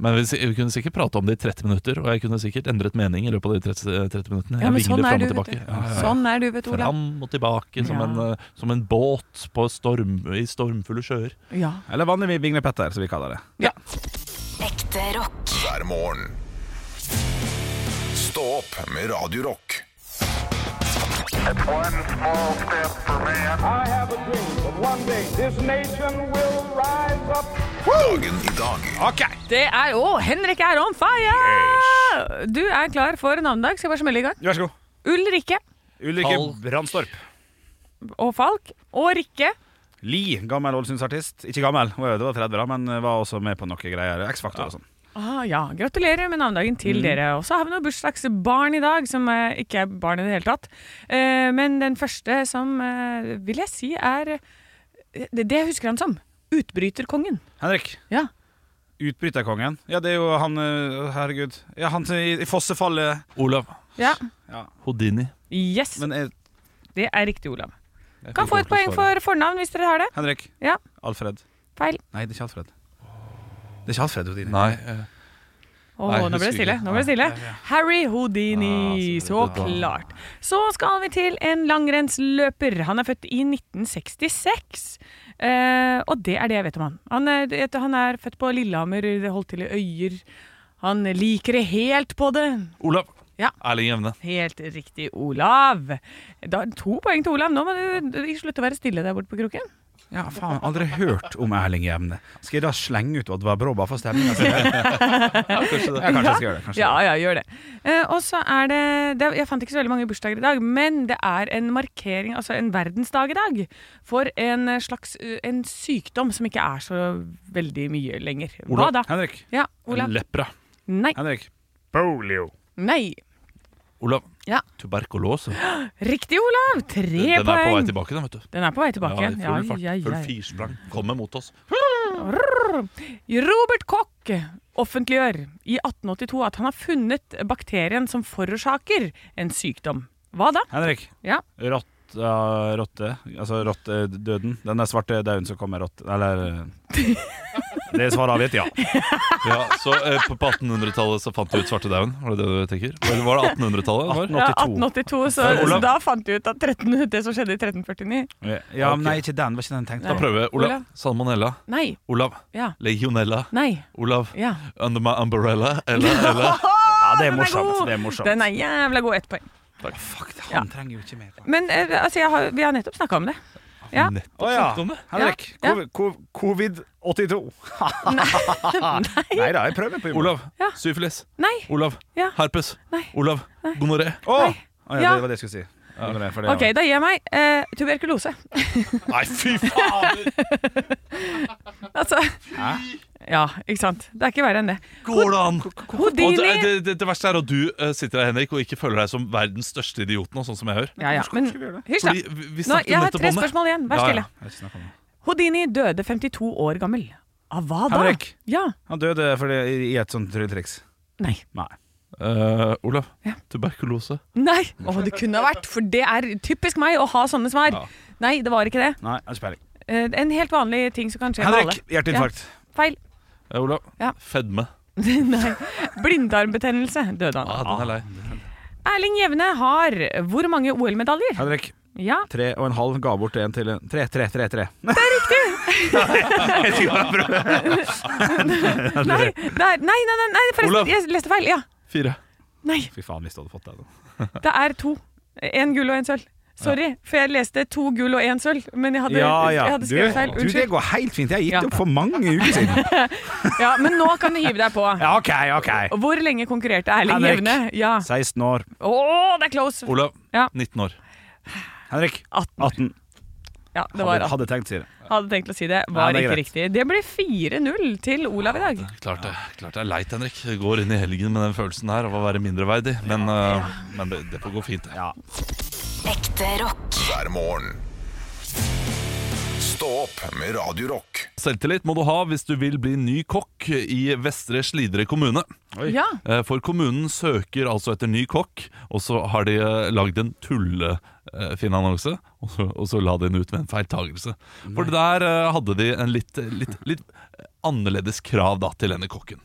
Speaker 3: Men vi, si- vi kunne sikkert prate om det i 30 minutter, og jeg kunne sikkert endret mening i løpet av de 30, 30 minuttene.
Speaker 5: ja
Speaker 3: Jeg
Speaker 5: men
Speaker 3: vingler
Speaker 5: sånn er
Speaker 3: fram
Speaker 5: du,
Speaker 3: og
Speaker 5: vet
Speaker 3: tilbake.
Speaker 5: du,
Speaker 3: Ja, ja, ja.
Speaker 5: sånn er du, vet du, Olav.
Speaker 3: Fram og tilbake som,
Speaker 5: Ja.
Speaker 3: en, eh, som en båt på storm, i stormfulle sjøer.
Speaker 5: Ja.
Speaker 2: Eller vanlig Vingle-Petter, som vi kaller det.
Speaker 4: Ekte rock.
Speaker 6: hver morgen. Stå opp med Radio Rock.
Speaker 8: I have a dream that one day this nation will rise up.
Speaker 6: Dagen i dag
Speaker 5: Det er, å, Henrik er on fire! Du er klar for navnedag, skal jeg bare smelle i gang.
Speaker 2: Vær så god.
Speaker 5: Ulrikke
Speaker 2: Ulrikke Brandstorp.
Speaker 5: og Falk og Rikke.
Speaker 2: Li, gammel Ålesundsartist. Ikke gammel, hun er- det var 30, da, men var også med på noen greier. X-Factor og sånn.
Speaker 5: Ah, ja. Gratulerer med navnedagen til dere. Og så har vi noen bursdagsbarn i dag, som eh, ikke er barn i det hele tatt. Eh, men den første som eh, vil jeg si er eh, det, det husker han som. Utbryterkongen.
Speaker 2: Henrik.
Speaker 5: Ja.
Speaker 2: Utbryterkongen. Ja, det er jo han eh, Herregud. Ja, han som i, i fossefallet
Speaker 3: Olav
Speaker 5: ja.
Speaker 3: Houdini.
Speaker 5: Yes,
Speaker 2: Men eh,
Speaker 5: det er riktig, Olav. Kan få et poeng for fornavn hvis dere har det.
Speaker 2: Henrik.
Speaker 5: Ja.
Speaker 2: Alfred.
Speaker 5: Feil.
Speaker 2: Nei, det er ikke Alfred. Det er ikke Alfred Odin.
Speaker 3: Nei. eh,
Speaker 5: Åh,
Speaker 3: Nei, jeg
Speaker 5: nå ble det
Speaker 3: husker
Speaker 5: stille.
Speaker 3: ikke.
Speaker 5: Nå ble det stille. Harry Houdini,
Speaker 3: Ah,
Speaker 5: så
Speaker 3: selvfølgelig.
Speaker 5: klart. Så skal vi til en langrennsløper. Han er født i 1966. Eh, og det er det jeg vet om han. Han er, det- han er født på Lillehammer, det holdt til i Øyer. Han liker det helt på det.
Speaker 3: Olav.
Speaker 5: Ja.
Speaker 3: Erling Jevne.
Speaker 5: Helt riktig, Olav. Da, to poeng til Olav. Nå må du slutte å være stille der borte på kroken.
Speaker 2: Ja, faen. Aldri hørt om Erling Jevne. Skal jeg da slenge ut Oddvar Brå bare for stemninga si? ja, kanskje det. Ja, kanskje jeg skal gjøre det. Kanskje.
Speaker 5: Ja, ja, gjør det. Eh, og så er det, det Jeg fant ikke så veldig mange bursdager i dag, men det er en markering, altså en verdensdag i dag, for en eh, slags eh, en sykdom som ikke er så veldig mye lenger. Hva da?
Speaker 2: Henrik.
Speaker 5: Ja, Olav?
Speaker 3: Lepra.
Speaker 5: Nei.
Speaker 2: Henrik.
Speaker 5: Nei.
Speaker 3: Olav.
Speaker 5: Ja.
Speaker 3: Tuberkulose.
Speaker 5: Riktig, Olav! Tre
Speaker 3: Den er på vei
Speaker 5: poeng.
Speaker 3: tilbake, den, vet du.
Speaker 5: Den er på vei tilbake.
Speaker 3: Ja, i full fart.
Speaker 5: ja, ja,
Speaker 3: Full
Speaker 5: ja.
Speaker 3: firsprang. Kommer mot oss.
Speaker 5: Robert Koch offentliggjør i 1882 at han har funnet bakterien som forårsaker en sykdom. Hva da?
Speaker 2: Henrik.
Speaker 5: Ja.
Speaker 2: Rott, ja, rotte. Altså rottedøden. Den der svarte dauden som kommer rått... Eller eh, Det svaret avgitt, ja.
Speaker 3: Ja, så eh, på på 1800-tallet så fant du ut svartedauden? Var det det du tenker? Eller var det 1800-tallet? det var?
Speaker 2: 82.
Speaker 5: Ja, 1882, så,
Speaker 3: Ja,
Speaker 5: så
Speaker 3: Olav.
Speaker 5: da fant du ut at 13, det som skjedde i 1349
Speaker 2: Ja, men nei, ikke den. Var ikke den jeg tenkte
Speaker 5: Nei.
Speaker 3: Da prøver jeg. Olav.
Speaker 5: Olav.
Speaker 3: Salmonella.
Speaker 5: Nei,
Speaker 3: Olav.
Speaker 5: ja,
Speaker 3: Legionella.
Speaker 5: nei,
Speaker 3: Olav.
Speaker 5: ja.
Speaker 3: Under my umbrella. Eller, eller.
Speaker 2: Ja, det er
Speaker 5: Ah, Den er
Speaker 2: morsomt.
Speaker 5: god.
Speaker 2: Det er morsomt.
Speaker 5: Den er jævla god ett poeng.
Speaker 2: Fuck, han
Speaker 5: Ja.
Speaker 2: trenger jo ikke mer. Å
Speaker 5: Men eh, altså, jeg har, vi har nettopp snakka om det. Ja.
Speaker 3: Nettopp
Speaker 2: ja.
Speaker 3: snakket om det.
Speaker 2: Henrik.
Speaker 5: Ja.
Speaker 2: Covid- ko- Covid-82. Nei da, jeg prøver på humor.
Speaker 3: Olav.
Speaker 5: Ja.
Speaker 3: Syfilis.
Speaker 5: Nei,
Speaker 3: Olav.
Speaker 5: Ja.
Speaker 3: Herpes.
Speaker 5: Nei.
Speaker 3: Olav. Gonoré.
Speaker 2: Å!
Speaker 5: Nei.
Speaker 2: Å, ja,
Speaker 5: Ja.
Speaker 2: Det var det jeg skulle si. Ja, det var for det, ja.
Speaker 5: OK, da gir jeg meg. eh, tuberkulose.
Speaker 3: Nei, fy faen!
Speaker 5: Altså Ja, ikke sant. Det er ikke verre enn det.
Speaker 3: Går det an? Og det,
Speaker 5: Houdini
Speaker 3: det, det, det verste er at du eh, sitter her Henrik og ikke føler deg som verdens største idiot nå, sånn som jeg gjør.
Speaker 5: Ja, ja, men hysj, da.
Speaker 3: Fordi vi, vi
Speaker 5: Nå,
Speaker 3: snakket
Speaker 5: jeg har
Speaker 3: nettopp
Speaker 5: tre
Speaker 3: om det.
Speaker 5: spørsmål igjen. Vær
Speaker 3: Ja, ja.
Speaker 5: stille.
Speaker 2: Jeg har ikke snakket om det.
Speaker 5: Houdini døde 52 år gammel. Av hva da?
Speaker 2: Henrik.
Speaker 5: Ja.
Speaker 2: Han døde fordi, i, i et sånt trylletriks.
Speaker 5: Nei.
Speaker 2: Nei.
Speaker 3: Eh, Olav.
Speaker 5: Ja.
Speaker 3: Tuberkulose.
Speaker 5: Nei! Å, det kunne ha vært, for det er typisk meg å ha sånne svar.
Speaker 3: Ja.
Speaker 5: Nei, det var ikke det.
Speaker 2: Nei, jeg har ikke peiling.
Speaker 5: Eh, en helt vanlig ting som kan skje med alle.
Speaker 2: Henrik, hjerteinfarkt.
Speaker 5: Feil.
Speaker 3: Eh, Olav.
Speaker 5: Ja.
Speaker 3: Fedme.
Speaker 5: Nei. Blindtarmbetennelse døde han av.
Speaker 3: Ah, den er lei.
Speaker 5: Erling Jevne har hvor mange OL-medaljer?
Speaker 2: Henrik,
Speaker 5: Ja,
Speaker 2: tre og en halv ga bort en til en. Tre, tre, tre, tre.
Speaker 5: Nei, det er, nei, nei, nei, nei
Speaker 3: Olav.
Speaker 5: forresten, jeg leste feil. Ja.
Speaker 3: Fire.
Speaker 5: Nei,
Speaker 2: Fy faen, hvis du hadde fått det. altså. da.
Speaker 5: det er to. Én gull og én sølv. Sorry, for jeg leste to gull og én sølv, men jeg hadde,
Speaker 2: Ja, ja.
Speaker 5: jeg hadde
Speaker 2: Du,
Speaker 5: skrevet feil.
Speaker 2: du, det
Speaker 5: Unnskyld.
Speaker 2: går helt fint. Jeg har gitt
Speaker 5: Ja.
Speaker 2: opp for mange uker siden.
Speaker 5: Ja, men nå kan du hive deg på.
Speaker 2: Ja, OK, OK.
Speaker 5: Hvor lenge konkurrerte Erling
Speaker 2: Henrik.
Speaker 5: Jevne? Ja.
Speaker 2: 16 år.
Speaker 5: Å, det er close!
Speaker 3: Olav.
Speaker 5: Ja.
Speaker 3: 19 år.
Speaker 2: Henrik,
Speaker 5: 18.
Speaker 2: 18.
Speaker 5: Ja, det var
Speaker 2: Hadde, hadde
Speaker 5: 18.
Speaker 2: tenkt å si det.
Speaker 5: Hadde tenkt å si det.
Speaker 2: Nei,
Speaker 5: Var
Speaker 2: det er
Speaker 5: ikke riktig. Det blir 4-0 til Olav i dag.
Speaker 3: Klart det, klart det er leit, Henrik. Det går inn i helgen med den følelsen her av å være mindreverdig. Men, eh, men det, det får gå fint. det.
Speaker 2: Ja.
Speaker 4: Ekte rock.
Speaker 6: hver morgen. Stå opp med Radio Rock.
Speaker 3: Selvtillit må du ha hvis du vil bli ny kokk i Vestre Slidre kommune.
Speaker 5: Ja.
Speaker 3: Eh, For kommunen søker altså etter ny kokk, og så har de eh, lagd en tullefin annonse. Og så, og så la de den ut med en feiltagelse. For der eh, hadde de en litt, litt, litt annerledes krav da, til denne kokken.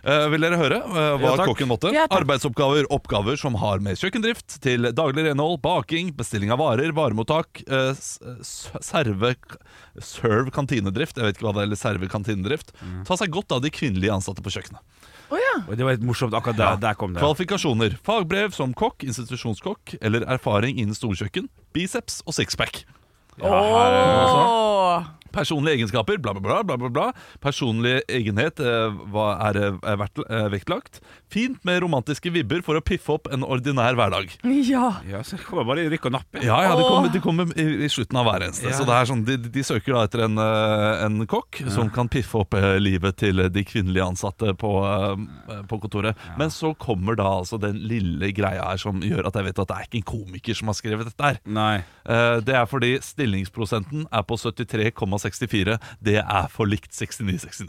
Speaker 3: Eh, vil dere høre eh, hva
Speaker 2: Ja, takk.
Speaker 3: kokken måtte?
Speaker 5: Ja, takk.
Speaker 3: Arbeidsoppgaver, oppgaver som har med kjøkkendrift til daglig renhold, baking, bestilling av varer, varemottak, eh, s- s- serve Serve kantinedrift, jeg vet ikke hva det er, eller serve kantinedrift.
Speaker 5: Mm.
Speaker 3: Ta seg godt av de kvinnelige ansatte på kjøkkenet.
Speaker 2: Oi, Det var litt morsomt. Akkurat der, der kom det.
Speaker 3: Kvalifikasjoner. Fagbrev som kokk, institusjonskokk eller erfaring innen storkjøkken. Biceps og sixpack.
Speaker 5: Åh.
Speaker 3: Personlige egenskaper, bla, bla, bla. bla, bla, bla. Personlig egenhet eh, hva er, eh, vert, eh, vektlagt. Fint med romantiske vibber for å piffe opp en ordinær hverdag.
Speaker 5: Ja.
Speaker 7: Ja, så jeg kommer bare i rykk og napp. jeg.
Speaker 3: Ja, ja, de
Speaker 5: Åh.
Speaker 3: kommer, de kommer i, i slutten av hver eneste. Så det er sånn, de, de søker da etter en, eh, en kokk som kan piffe opp eh, livet til de kvinnelige ansatte på, eh, på kontoret. Men så kommer da altså den lille greia her som gjør at jeg vet at det er ikke en komiker som har skrevet dette her.
Speaker 7: Nei.
Speaker 3: Eh, Det er fordi stillingsprosenten er på 73,64. Det er for likt 69,69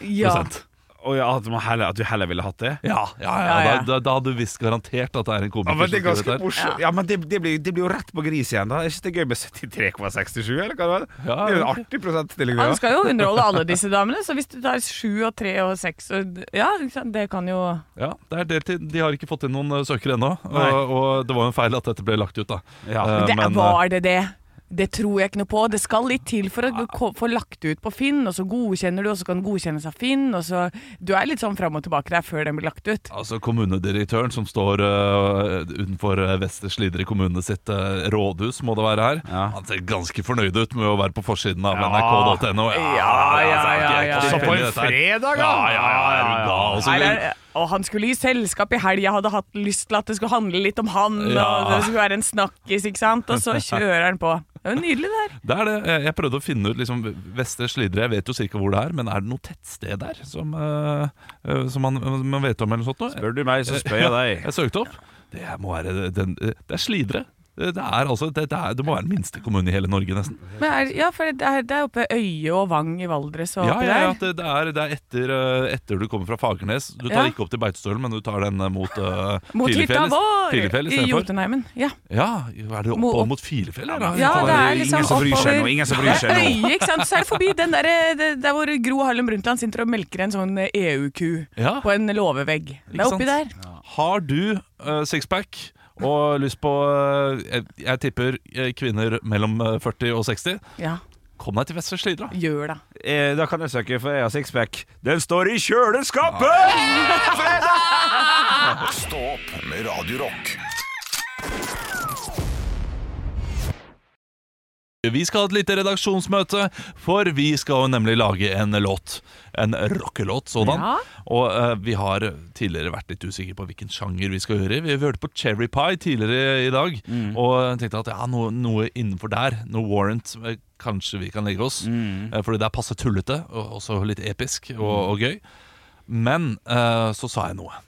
Speaker 5: ja.
Speaker 3: prosent.
Speaker 7: Å ja, at, man heller, at du heller ville hatt det?
Speaker 3: Ja, ja, ja,
Speaker 5: Ja, ja.
Speaker 3: Da, da, da hadde du visst garantert at det er en komiker.
Speaker 7: Ja, men det er
Speaker 3: som skriver
Speaker 7: ganske
Speaker 3: dette her.
Speaker 7: morsomt. Ja, men det, det, blir, det blir jo rett på gris igjen, da. Er ikke det gøy med 73,67, eller hva det var?
Speaker 3: Ja,
Speaker 7: det er jo en
Speaker 3: ja.
Speaker 7: artig prosentstilling.
Speaker 5: Han
Speaker 7: Ja.
Speaker 5: skal jo underholde alle disse damene, så hvis du tar sju og tre og seks og Ja, ikke sant, det kan jo
Speaker 3: Ja, det er deltid. De har ikke fått inn noen eh, søkere ennå.
Speaker 7: Nei.
Speaker 3: Og, og det var jo en feil at dette ble lagt ut, da.
Speaker 7: Ja.
Speaker 3: Eh,
Speaker 5: det,
Speaker 3: men, eh,
Speaker 5: Var det det? Det tror jeg ikke noe på. Det skal litt til for å ko- få lagt det ut på Finn, og så godkjenner du, og så kan den godkjennes av Finn, og så Du er litt sånn fram og tilbake der før den blir lagt ut.
Speaker 3: Altså Kommunedirektøren som står eh, utenfor eh, Vestre Slidre kommune sitt eh, rådhus, må det være her.
Speaker 7: Ja.
Speaker 3: Han ser ganske fornøyd ut med å være på forsiden av
Speaker 7: Ja.
Speaker 3: nrk.no.
Speaker 5: Ja, ja, ja,
Speaker 3: altså,
Speaker 5: ja.
Speaker 7: Så
Speaker 3: ikke- ikke
Speaker 7: på en
Speaker 3: dette her.
Speaker 7: fredag, da!
Speaker 3: Ja, ja, ja, Altså, er du gal? Og så-
Speaker 5: Nei, det er- og han skulle i selskap i helga, hadde hatt lyst til at det skulle handle litt om han,
Speaker 3: Ja.
Speaker 5: og det skulle være en snakkis, ikke sant, og så kjører han på. Det er jo nydelig, det her.
Speaker 3: Det er det. Jeg- Jeg prøvde å finne ut liksom, Vestre Slidre, jeg vet jo cirka hvor det er, men er det noe tettsted der som, eh, eh, som man, man vet om, eller noe sånt? Noe?
Speaker 2: Spør du meg, så spør jeg deg.
Speaker 3: Jeg søkte opp. Det, her må være, den, det er Slidre. Det, er, altså, det, det, er, det må være den minste kommunen i hele Norge, nesten.
Speaker 5: Men er, ja, for det er, det er oppe Øye og Vang i Valdres og
Speaker 3: Ja,
Speaker 5: oppi
Speaker 3: ja, ja
Speaker 5: der.
Speaker 3: at det, det er, det er etter, eh, etter du kommer fra Fagernes. Du tar
Speaker 5: Ja.
Speaker 3: ikke opp til Beitostølen, men du tar den eh, mot, uh,
Speaker 5: Mot hytta vår
Speaker 3: Filefjell
Speaker 5: i
Speaker 3: istedenfor.
Speaker 5: Jotunheimen. Ja.
Speaker 3: Ja, er det
Speaker 5: Mo-
Speaker 3: oppover mot Filefjell? eller?
Speaker 5: Ja, det er
Speaker 7: ingen
Speaker 5: liksom
Speaker 7: som bryr seg
Speaker 5: oppover-
Speaker 7: nå, ingen som bryr seg nå.
Speaker 5: Det er Øye, ikke sant? Så er det forbi den der, eh, det- der hvor Gro Harlem Brundtland sitter og melker en sånn eh, EU-ku
Speaker 3: Ja.
Speaker 5: på en låvevegg. Det er
Speaker 3: Ikke
Speaker 5: oppi der.
Speaker 3: sant? Har du eh, sixpack og lyst på eh, jeg, jeg tipper eh, kvinner mellom eh, 40 og 60.
Speaker 5: Ja,
Speaker 3: Kom deg til Vestre Slidre.
Speaker 5: gjør det.
Speaker 2: Eh, da kan jeg søke, for jeg har sixpack. Den står i kjøleskapet!
Speaker 6: Stå opp med Radio Rock.
Speaker 3: Vi skal ha et lite redaksjonsmøte, for vi skal jo nemlig lage en låt. En rockelåt sådan.
Speaker 5: Ja.
Speaker 3: Og eh, vi har tidligere vært litt usikre på hvilken sjanger vi skal gjøre. Vi hørte på Cherry Pie tidligere i dag, og tenkte at ja, noe, noe innenfor der, noe warrant, eh, kanskje vi kan legge oss.
Speaker 2: Mm.
Speaker 7: Mm.
Speaker 3: Eh, fordi det er passe tullete, og også litt episk og, og gøy. Men eh, så sa jeg noe.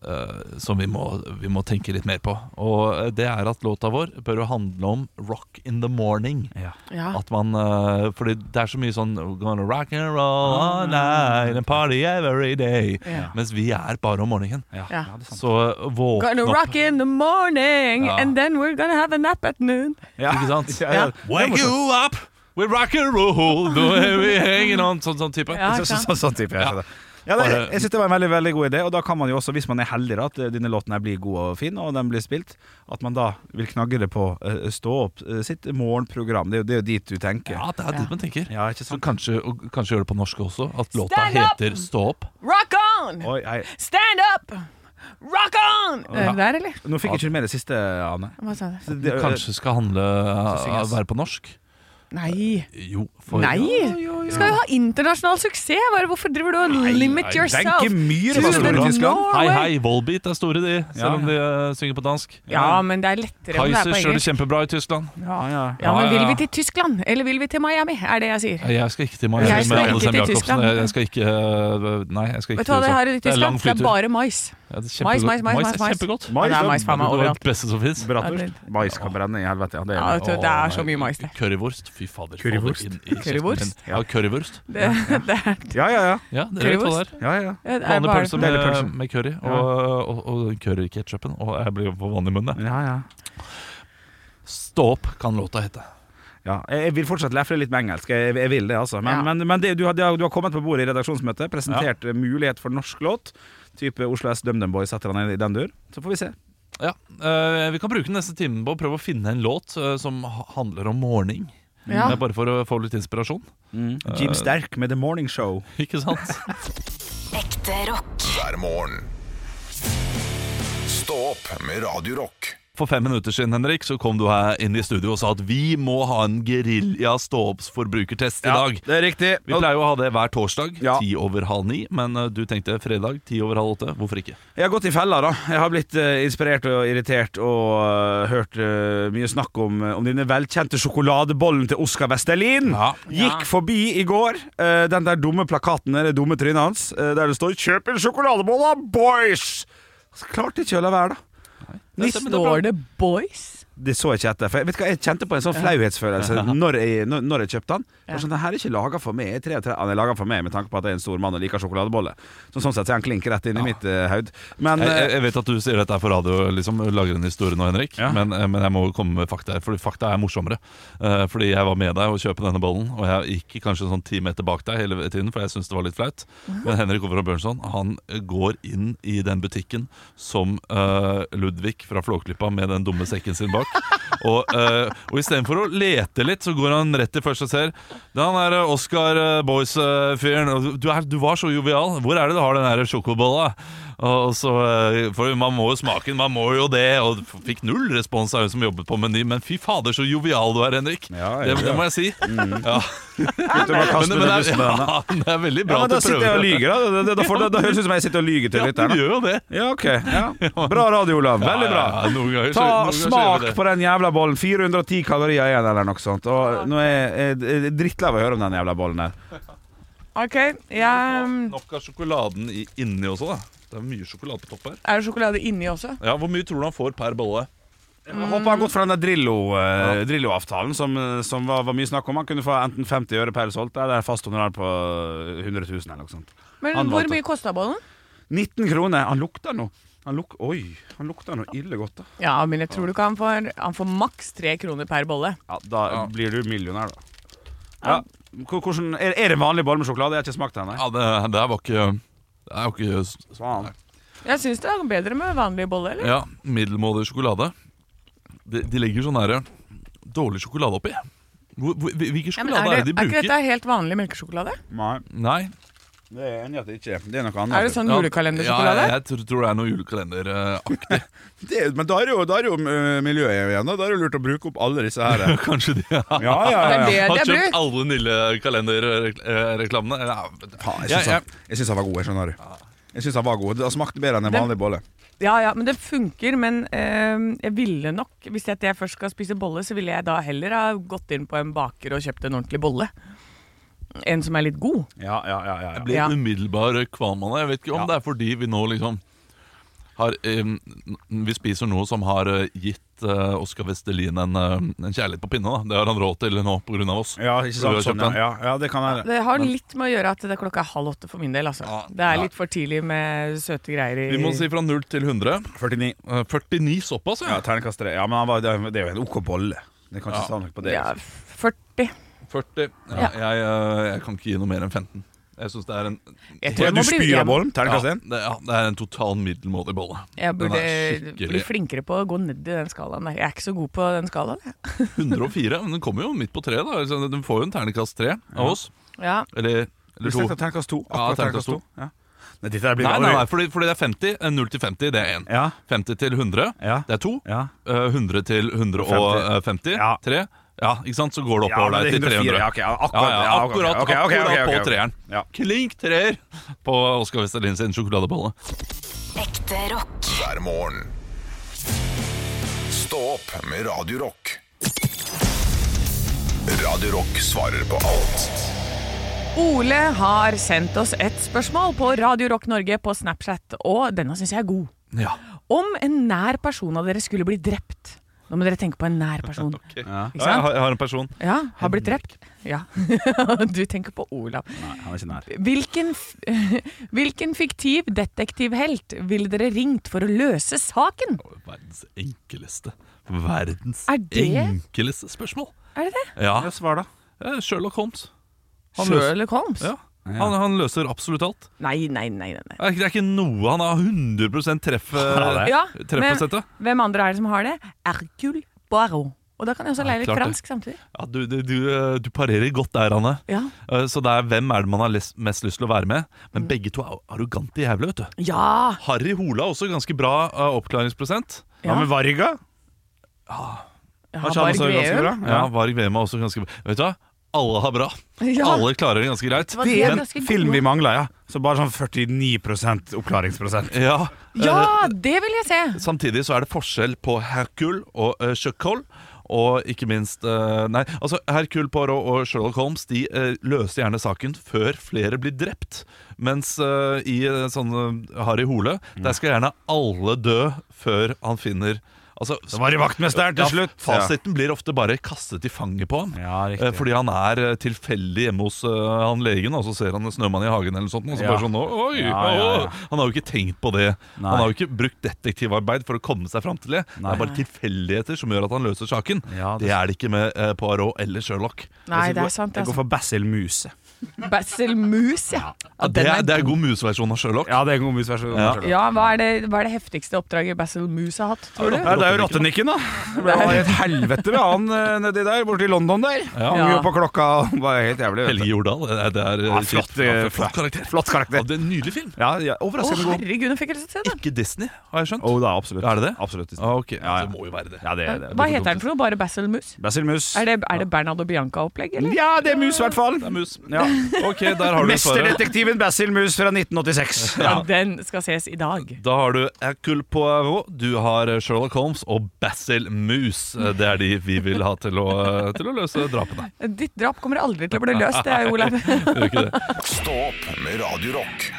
Speaker 3: eh, som vi må, vi må tenke litt mer på. Og eh, det er at låta vår bør jo handle om rock in the morning.
Speaker 5: Ja.
Speaker 3: At man eh, Fordi det er så mye sånn We're gonna rock and roll all night and party every day.
Speaker 5: Ah. Ja.
Speaker 3: Mens vi er bare om morgenen.
Speaker 5: Ja.
Speaker 3: Så eh, våkne
Speaker 5: Gonna rock
Speaker 3: opp.
Speaker 5: in the morning,
Speaker 3: Ja.
Speaker 5: and then we're gonna have a nap at noon.
Speaker 3: Ikke sant?
Speaker 5: Ja.
Speaker 3: Wake you up! We rock and roll! Da er vi hanging on! Sånn, sånn type.
Speaker 5: Ja,
Speaker 7: Så, så,
Speaker 5: ikke sant?
Speaker 7: så, sånn type, jeg skjønner.
Speaker 2: Ja, det, jeg synes det var en veldig veldig god idé, og da kan man jo også, hvis man er heldig, da, at eh, denne låten her blir god og fin, og den blir spilt, at man da vil knagge det på eh, Stå opp eh, sitt morgenprogram. Det er jo, det er jo dit du tenker.
Speaker 3: Ja, det er det man tenker.
Speaker 2: Ja, ikke
Speaker 3: Så
Speaker 2: sant?
Speaker 3: kanskje, og kanskje gjøre det på norsk også. At låta
Speaker 5: Stand up!
Speaker 3: heter Stå opp.
Speaker 5: Rock on!
Speaker 2: Oi, hei.
Speaker 5: Stand up! Rock on! Er det der, eller?
Speaker 2: Nå fikk jeg ikke med det siste, Anne.
Speaker 5: Hva sa du?
Speaker 2: Det- det-
Speaker 3: Kanskje skal handle eh,
Speaker 2: synges.
Speaker 3: Være på norsk?
Speaker 5: Nei.
Speaker 3: Jo, for
Speaker 5: Nei! Du skal jo ha internasjonal suksess. Bare hvorfor driver du og limit yourself?
Speaker 2: Wenche Myhre
Speaker 5: to
Speaker 2: var
Speaker 5: the
Speaker 2: stor i Tyskland.
Speaker 5: Norway?
Speaker 3: Hei, hei, Volbeat er store, de.
Speaker 2: Ja.
Speaker 3: Selv om de eh, synger på dansk.
Speaker 5: Ja, men det er lettere om det er
Speaker 3: Kaiser
Speaker 5: på
Speaker 3: gjør det
Speaker 5: engelsk.
Speaker 3: kjempebra i Tyskland.
Speaker 2: Ja, ja.
Speaker 5: Ja, men
Speaker 3: Ja, ja,
Speaker 5: vil
Speaker 3: ja.
Speaker 5: vi til Tyskland, eller vil vi til Miami, er det jeg sier.
Speaker 3: Jeg skal ikke til Miami
Speaker 5: Jeg skal
Speaker 3: med Anne Sem
Speaker 5: ikke til
Speaker 3: Jacobsen.
Speaker 5: Tyskland.
Speaker 3: Jeg, jeg skal ikke øh, Nei, jeg skal ikke
Speaker 5: Vet du hva det
Speaker 3: USA.
Speaker 5: har i
Speaker 3: er
Speaker 5: Tyskland?
Speaker 3: lang
Speaker 5: Det er
Speaker 3: flytur.
Speaker 5: bare mais.
Speaker 3: Ja, det er
Speaker 5: Mais,
Speaker 3: kjempegodt.
Speaker 5: mais, mais, mais,
Speaker 3: er
Speaker 5: mais.
Speaker 3: kjempegodt.
Speaker 5: Ja, det er mais faen meg
Speaker 3: Det er
Speaker 5: overalt.
Speaker 3: det beste som fins.
Speaker 5: Ja,
Speaker 2: Bratwurst. Mais kan brenne i helvete. Ja, det
Speaker 5: Ja,
Speaker 2: er
Speaker 5: vet du, det er så mye mais, det.
Speaker 3: Currywurst. Fy fader. få det
Speaker 2: Currywurst?
Speaker 3: inn i kjeften
Speaker 5: Currywurst?
Speaker 3: min. Ja, currywurst.
Speaker 5: Det, det er,
Speaker 2: Ja, ja, ja.
Speaker 3: Ja, dere vet hva det er.
Speaker 2: ja, ja, ja.
Speaker 5: det er
Speaker 3: Vanlig
Speaker 5: bare-
Speaker 3: pølse
Speaker 2: Deilig
Speaker 3: med,
Speaker 2: pølse.
Speaker 3: med curry og, og, og curryketchupen. Og jeg blir jo for vann i munnen. jeg.
Speaker 2: ja, ja.
Speaker 3: Stå opp kan låta hete.
Speaker 2: Ja, jeg jeg vil fortsatt lefle litt med engelsk. Jeg, jeg vil det, altså. Men,
Speaker 5: Ja.
Speaker 2: men, men det, du, har, du har kommet på bordet i redaksjonsmøtet, presentert eh, mulighet for norsk låt. Type Oslo S DumDum Boys setter han i den dur. Så får vi se.
Speaker 3: Ja, øh, Vi kan bruke den neste timen på å prøve å finne en låt øh, som ha- handler om morning.
Speaker 5: Ja.
Speaker 3: Det er Bare for å få litt inspirasjon. Mm.
Speaker 2: Jim Sterk med The Morning Show.
Speaker 3: Ikke sant?
Speaker 4: Ekte rock.
Speaker 6: hver morgen. Stå opp med Radio Rock.
Speaker 3: For fem minutter siden Henrik, så kom du her inn i studio og sa at vi må ha en gerilja ståoppsforbrukertest i dag.
Speaker 2: Det er riktig.
Speaker 3: Vi pleier jo å ha det hver torsdag, ti
Speaker 2: Ja.
Speaker 3: over halv ni. Men eh, du tenkte fredag, ti over halv åtte. Hvorfor ikke?
Speaker 2: Jeg har gått i fella, da. Jeg har blitt eh, inspirert og irritert og eh, hørt eh, mye snakk om, om denne velkjente sjokoladebollen til Oskar Vestelin.
Speaker 3: Ja.
Speaker 2: Gikk forbi i går eh, den der dumme plakaten, det dumme trynet hans, eh, der det står 'Kjøp en sjokoladebolle av boys'! Så klarte ikke å la være, da. Nissen-
Speaker 5: Står det boys?
Speaker 2: det så jeg ikke etter. For jeg, vet du hva, jeg kjente på en sånn flauhetsfølelse når jeg, når, når jeg kjøpte den. Det var Sånn, den her er ikke laga for meg. Jeg er 33. Han er laga for meg med tanke på at jeg er en stor mann og liker sjokoladeboller. Så sånn sett så er han klink rett inn i mitt eh, haud. Men
Speaker 3: Jeg,
Speaker 2: eh,
Speaker 3: jeg- jeg vet at du sier dette er for radio, liksom, lager en historie nå, Henrik. Men, eh, men jeg må komme med fakta her, for fakta er morsommere. Eh, fordi jeg var med deg og kjøpe denne bollen, og jeg gikk kanskje sånn ti meter bak deg hele tiden, for jeg syntes det var litt flaut. Men Henrik Over og Bjørnson han går inn i den butikken som eh, Ludvig fra Flåklypa med den dumme sekken sin bak. Og, uh, og istedenfor å lete litt, så går han rett til først og ser. Det er han der eh, Oscar Boys-fyren. Du, er- du var så jovial. Hvor er det du har den der sjokobolla? Og så, eh, for man må jo smake den, man må jo det. Og f- fikk null respons av hun som jobbet på Meny, men fy fader, så jovial du er, Henrik.
Speaker 2: Ja,
Speaker 3: det,
Speaker 2: ja. Mm.
Speaker 3: det må jeg si. Ja.
Speaker 2: Uten å
Speaker 3: Men, men det,
Speaker 2: kaste under
Speaker 3: er,
Speaker 2: bussen med henne.
Speaker 3: ja, det er veldig
Speaker 2: Ja,
Speaker 3: bra
Speaker 2: men da
Speaker 3: at du
Speaker 2: sitter jeg og
Speaker 3: prøver.
Speaker 2: lyger, da. Da, da, da, får, da, da høres det ut som jeg sitter og lyger til
Speaker 3: Ja, du
Speaker 2: lytterne.
Speaker 3: gjør jo det.
Speaker 2: Ja, ok. Ja. Bra radio, Olav. Veldig bra.
Speaker 3: Ja, ja, noen ganger,
Speaker 2: Ta
Speaker 3: skjer- noen ganger skjer
Speaker 2: smak
Speaker 3: det.
Speaker 2: på den jævla bollen. 410 kalorier igjen, eller noe sånt. Og nå er jeg- jeg er drittlei av å høre om den jævla bollen her.
Speaker 5: Ok, jeg, um,
Speaker 3: Nok av sjokoladen i, inni også, da. Det er mye sjokolade på topp her.
Speaker 5: er det sjokolade inni også?
Speaker 3: Ja, Hvor mye tror du han får per bolle?
Speaker 2: Jeg
Speaker 3: Mm.
Speaker 2: håper han har gått fra den der Drillo, eh, Drillo-avtalen, som, eh, som var, var mye snakk om. Han kunne få enten 50 øre per solgt, eller fast honorar på eh, 100 000, eller noe sånt.
Speaker 5: Men
Speaker 2: Han
Speaker 5: hvor
Speaker 2: valgte.
Speaker 5: mye kosta bollen?
Speaker 2: 19 kroner. Han lukter nå. Han luk Oi, han lukter nå ille godt, da.
Speaker 5: Ja, men jeg tror du ikke han får Han får maks tre kroner per bolle.
Speaker 2: Ja, da blir du millionær, da. Ja. Hvor- Hvordan, er, er det en vanlig bolle med sjokolade? Jeg har ikke smakt den. nei.
Speaker 3: Ja, Det, det her var ikke Det er jo ikke s-
Speaker 2: Faen.
Speaker 5: Jeg syns det er bedre med vanlig bolle, eller?
Speaker 3: Ja, middelmådig sjokolade. De, de legger sånn her dårlig sjokolade oppi. Hvor- hvor- Hvilken
Speaker 5: Ja, men
Speaker 3: sjokolade er det de
Speaker 5: er ikke
Speaker 3: bruker?
Speaker 5: dette helt vanlig melkesjokolade?
Speaker 2: Nei,
Speaker 3: Nei.
Speaker 2: det er jeg enig i at det ikke er. Det er noe annet.
Speaker 5: Er det sånn
Speaker 3: Ja, Ja,
Speaker 5: julekalendersjokolade?
Speaker 3: jeg, jeg tror, tror det er noe eh, julekalenderaktig.
Speaker 9: Det, men da er det jo, da er det jo
Speaker 2: mm,
Speaker 9: eh, miljøet igjen. Da Da er det jo lurt å bruke opp alle disse her.
Speaker 3: Kanskje de har,
Speaker 2: Ja, ja, ja. ja.
Speaker 5: Det er det
Speaker 3: har
Speaker 5: det er
Speaker 3: kjøpt
Speaker 5: brukt!
Speaker 3: alle Nille-kalenderreklamene?
Speaker 9: Faen,
Speaker 3: Ja,
Speaker 9: jeg syns han, jeg syns han var god, jeg skjønner du. Jeg syns han var god. Det smakte bedre enn en
Speaker 5: Den-
Speaker 9: vanlig bolle.
Speaker 5: Ja ja, men det funker. Men eh, jeg ville nok Hvis jeg, jeg først skal spise bolle, så ville jeg da heller ha gått inn på en baker og kjøpt en ordentlig bolle. En som er litt god.
Speaker 2: ja, ja, ja, ja, ja.
Speaker 3: Ble
Speaker 5: Ja.
Speaker 3: umiddelbar kvalm av det. Jeg vet ikke om det er fordi vi nå liksom har, eh, n- vi spiser noe som har eh, gitt eh, Oskar Vestelin en, eh, en kjærlighet på pinne. Da. Det har han råd til nå pga. oss.
Speaker 2: Ja, ikke
Speaker 3: Du har
Speaker 2: sant.
Speaker 3: kjøpt
Speaker 2: Sånn, ja.
Speaker 3: den?
Speaker 2: Ja, ja, det kan være.
Speaker 5: Det har litt med å gjøre at det er klokka er halv åtte for min del. Altså.
Speaker 3: Ja,
Speaker 5: det er litt for tidlig med søte greier i
Speaker 3: Vi må si fra 0 til 100.
Speaker 2: 49.
Speaker 3: Eh, 49 såpass,
Speaker 2: Ja, terningkast tre. Ja, men han var, det er- det er jo en OK bolle. Det kan ikke
Speaker 3: Ja.
Speaker 2: stå noe på det.
Speaker 5: ja,
Speaker 2: liksom.
Speaker 5: 40.
Speaker 3: 40. Ja,
Speaker 5: Ja.
Speaker 3: Jeg, eh, jeg kan ikke gi noe mer enn 15. Jeg synes det er en
Speaker 5: Jeg
Speaker 2: Ja,
Speaker 5: tror jeg
Speaker 2: du
Speaker 5: må bli,
Speaker 2: spyr av
Speaker 5: jeg,
Speaker 2: bollen?
Speaker 3: ja,
Speaker 2: Terningkast
Speaker 3: det,
Speaker 2: én?
Speaker 3: ja, det er en total middelmådig bolle. Den
Speaker 5: jeg burde
Speaker 3: er
Speaker 5: bli
Speaker 3: skikkelig
Speaker 5: flinkere på å gå ned i den skalaen der. Jeg er ikke så god på den skalaen. jeg.
Speaker 3: 104. Men den kommer jo midt på treet. da Altså, Den får jo en terningkast tre av oss.
Speaker 5: Ja.
Speaker 3: Eller,
Speaker 2: Vi
Speaker 3: eller to.
Speaker 2: snakket terningkast to.
Speaker 3: Ja,
Speaker 2: Akkurat
Speaker 3: terningkast
Speaker 2: terningkast to. Ja. Nei, dette her blir
Speaker 3: Nei, nei, nei fordi, fordi det er 50. eh, 0 til 50, det er 1.
Speaker 2: Ja,
Speaker 3: 50 til 100,
Speaker 2: ja,
Speaker 3: det er 2.
Speaker 2: ja.
Speaker 3: 100 til 150,
Speaker 2: Ja.
Speaker 3: 3. Ja, ikke sant? Så går det
Speaker 2: Ja,
Speaker 3: oppover
Speaker 2: men
Speaker 3: der
Speaker 2: det er
Speaker 3: til 300.
Speaker 2: 104. Ja, ok, ja,
Speaker 3: Ja,
Speaker 2: akkurat,
Speaker 3: ja,
Speaker 2: ja, ok,
Speaker 3: akkurat,
Speaker 2: ok, ok, ok,
Speaker 3: akkurat
Speaker 2: ok,
Speaker 3: på
Speaker 2: ok.
Speaker 3: treeren.
Speaker 2: Ja.
Speaker 3: Klink treer på Oskar Westerlin sin sjokoladebolle.
Speaker 4: Ekte rock.
Speaker 6: hver morgen. Stå opp med Radio Rock. Radio Rock svarer på alt
Speaker 5: Ole har sendt oss et spørsmål på Radio Rock Norge på Snapchat, og denne syns jeg er god.
Speaker 3: Ja.
Speaker 5: Om en nær person av dere skulle bli drept Nå må dere tenke på en nær person.
Speaker 3: ok.
Speaker 2: Ja.
Speaker 5: Ikke
Speaker 3: Ja, jeg,
Speaker 5: sant?
Speaker 3: har, jeg har en person.
Speaker 5: Ja, har blitt drept. Ja. Du tenker på Olav.
Speaker 2: Nei, han er ikke nær.
Speaker 5: Hvilken, f- hvilken fiktiv detektivhelt ville dere ringt for å løse saken?
Speaker 3: Verdens enkleste Verdens
Speaker 5: Er det-
Speaker 3: enkleste spørsmål.
Speaker 5: Er det det?
Speaker 3: Ja.
Speaker 2: Ja, svar, da.
Speaker 3: eh, Sherlock Holmes. Han løser,
Speaker 5: Sherlock Holmes?
Speaker 3: ja. han, han løser absolutt alt.
Speaker 5: Nei, nei, nei. nei, nei.
Speaker 3: Det er ikke- det er ikke noe han har 100 treff, eh,
Speaker 5: Ja, men
Speaker 3: treffprosent av.
Speaker 5: hvem andre er det som har det? Hercule Poirot. Og da kan jeg også
Speaker 3: Ja,
Speaker 5: lære litt
Speaker 3: klart det.
Speaker 5: fransk samtidig.
Speaker 3: Ja, du, du, du, eh, du parerer godt der, Anne.
Speaker 5: Ja.
Speaker 3: Eh, Så det er hvem er det man har les- mest lyst til å være med.
Speaker 5: Mm.
Speaker 3: Men begge to er arrogante jævler, vet du.
Speaker 5: Ja!
Speaker 3: Harry Hola har også ganske bra eh, oppklaringsprosent.
Speaker 5: ja.
Speaker 2: Hva med Varga?
Speaker 5: Ja,
Speaker 7: Har ikke han
Speaker 5: Varg
Speaker 7: også ganske
Speaker 5: Veum.
Speaker 7: bra?
Speaker 3: Ja, Varg Veum er også ganske Vet du hva? Alle har bra.
Speaker 5: Ja.
Speaker 3: Alle klarer det ganske greit.
Speaker 5: Hva- de er
Speaker 7: Den
Speaker 5: ganske
Speaker 7: film
Speaker 5: gode.
Speaker 7: vi mangla, ja. Så bare sånn 49 oppklaringsprosent.
Speaker 3: Ja, eh,
Speaker 5: Ja, det vil jeg se!
Speaker 3: Samtidig så er det forskjell på Hercule og uh, Sherlock og ikke minst eh, Nei, altså Hercule Poirot og Sherlock Holmes De eh, løser gjerne saken før flere blir drept. Mens eh, i eh, sånn eh, Harry Hole,
Speaker 7: Mm.
Speaker 3: der skal gjerne alle dø før han finner Altså,
Speaker 7: Så var det vaktmesteren til slutt.
Speaker 3: Ja, fasiten blir ofte bare kastet i fanget på ham.
Speaker 7: Ja, riktig.
Speaker 3: Eh, fordi han er eh, tilfeldig hjemme hos eh, han legen, og så ser han en snømann i hagen eller noe sånt. Og så
Speaker 7: Ja.
Speaker 3: bare sånn, oi,
Speaker 7: Ja, ja, ja.
Speaker 3: å». Han har jo ikke tenkt på det.
Speaker 7: Nei.
Speaker 3: Han har jo ikke brukt detektivarbeid for å komme seg fram til det. Det
Speaker 7: Nei.
Speaker 3: er bare tilfeldigheter som gjør at han løser saken.
Speaker 7: Ja,
Speaker 3: det...
Speaker 7: det-
Speaker 3: er det ikke med eh, Poirot eller Sherlock.
Speaker 5: Nei, det er sant.
Speaker 7: Jeg går
Speaker 5: Altså.
Speaker 7: for Basil Muse.
Speaker 5: Basil Mus, ja.
Speaker 3: det,
Speaker 5: ja den
Speaker 3: er, det
Speaker 5: er
Speaker 3: er god museversjon av Sherlock.
Speaker 7: Ja, det er en god musversjon.
Speaker 3: Ja.
Speaker 7: Unnskyld.
Speaker 5: ja, hva er, det, hva er det heftigste oppdraget Basil Mus har hatt, tror du?
Speaker 7: Ja, det er jo rottenikken, da. Det ble jo et helvete med han eh, nedi der, borti London der.
Speaker 3: Ja.
Speaker 7: Hang jo på klokka og var helt jævlig. vet du.
Speaker 3: Helge Jordal. eh, Det er, det er,
Speaker 7: Ja, flott,
Speaker 3: ja,
Speaker 7: eh,
Speaker 3: flott karakter.
Speaker 7: Flott
Speaker 3: Ja,
Speaker 7: karakter.
Speaker 3: det er en Nydelig film.
Speaker 7: Ja, ja,
Speaker 5: Å,
Speaker 7: overraskende god.
Speaker 5: herregud, nå fikk jeg lyst til å se den.
Speaker 3: Ikke Disney, har jeg skjønt.
Speaker 7: Oh, da, absolutt.
Speaker 3: Er det det?
Speaker 7: Absolutt.
Speaker 3: Ah, ok,
Speaker 7: Ja, ja.
Speaker 3: Det må jo være det.
Speaker 7: Ja, det, det,
Speaker 5: Hva heter den for noe? Bare Basil Mus?
Speaker 7: Basil Mus.
Speaker 5: Er det, er det Bernard og Bianca-opplegg, eller?
Speaker 7: Ja, det er mus, i hvert fall.
Speaker 3: Det er mus.
Speaker 7: Ja.
Speaker 3: Ok, der har du svaret.
Speaker 7: Mesterdetektiven Basil Mus fra 1986.
Speaker 5: Ja, Den skal ses i dag.
Speaker 3: Da har du Hercule Poirot, du har Sherlock Holmes og Basil Moose. Det er de vi vil ha til å, til å løse drapene.
Speaker 5: Ditt drap kommer aldri til å bli løst, det er Olav.
Speaker 3: Gjør ikke det?
Speaker 6: Stå opp med Radio Rock.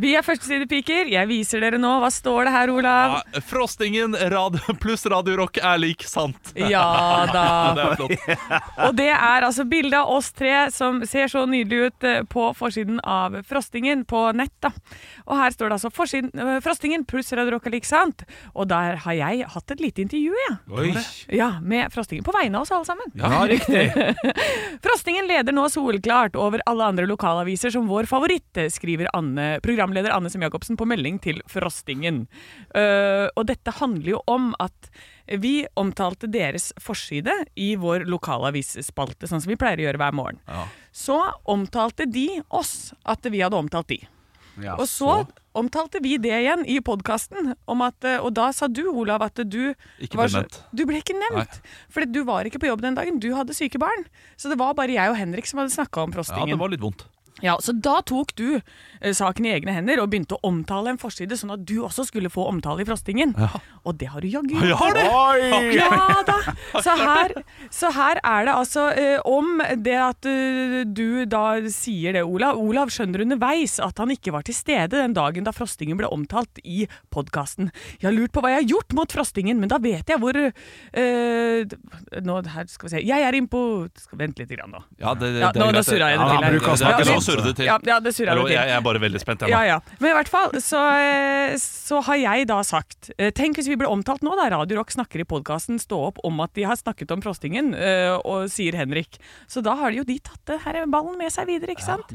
Speaker 5: Vi er førstesidepiker. Jeg viser dere nå. Hva står det her, Olav?
Speaker 3: Ja, Frostingen radio, pluss Radio Rock er lik sant.
Speaker 5: Ja da.
Speaker 3: Det er flott.
Speaker 5: Og det er altså bilde av oss tre som ser så nydelig ut eh, på forsiden av Frostingen på nett. da. Og her står det altså forsiden, eh, Frostingen pluss Radio Rock er lik sant. Og der har jeg hatt et lite intervju, jeg.
Speaker 7: Oi.
Speaker 5: Ja, med Frostingen på vegne av oss alle sammen.
Speaker 7: Ja, riktig.
Speaker 5: Frostingen leder nå solklart over alle andre lokalaviser som vår favoritt, skriver Anne, programleder Anne Sem Jacobsen på melding til Frostingen. Eh, og dette handler jo om at vi omtalte deres forside i vår lokalavisspalte, sånn som vi pleier å gjøre hver morgen. Så omtalte de oss at vi hadde omtalt de. og så, omtalte vi det igjen i podkasten, eh, og da sa du, Olav, at du
Speaker 3: Ikke
Speaker 5: var
Speaker 3: ble
Speaker 5: så-
Speaker 3: nevnt.
Speaker 5: Du ble ikke nevnt. For du var ikke på jobb den dagen, du hadde syke barn. Så det var bare jeg og Henrik som hadde snakka om
Speaker 3: Ja,
Speaker 5: frostingen.
Speaker 3: det var litt vondt.
Speaker 5: Ja, så da tok du eh, saken i egne hender og begynte å omtale en forside, sånn at du også skulle få omtale i frostingen. Og det har du jaggu gjort.
Speaker 3: Jeg har det!
Speaker 7: Oi!
Speaker 5: Ja da! Så her, så her er det altså eh, om det at eh, du da sier det, Olav. Olav skjønner underveis at han ikke var til stede den dagen da frostingen ble omtalt i podkasten. Jeg har lurt på hva jeg har gjort mot frostingen, men da vet jeg hvor eh, Nå, her skal vi se. Jeg er innpå skal, Vent litt grann nå.
Speaker 3: Ja, det, det,
Speaker 5: Ja, nå- nå
Speaker 3: greit.
Speaker 5: surrer jeg det
Speaker 3: Ja,
Speaker 7: til her.
Speaker 3: det- det- det er
Speaker 5: Ja,
Speaker 3: ikke så surrete til.
Speaker 5: Ja, ja det surra
Speaker 3: Hallo,
Speaker 5: litt
Speaker 3: Jeg,
Speaker 5: til.
Speaker 3: jeg er bare veldig spent. Jeg,
Speaker 5: Ja,
Speaker 3: nå.
Speaker 5: ja. Men i hvert fall, så, eh, så har jeg da sagt eh, Tenk hvis vi ble omtalt nå, da. Radio Rock snakker i podkasten Stå opp om at de har snakket om frostingen, eh, og sier Henrik. Så da har jo de tatt det her ballen med seg videre, ikke sant?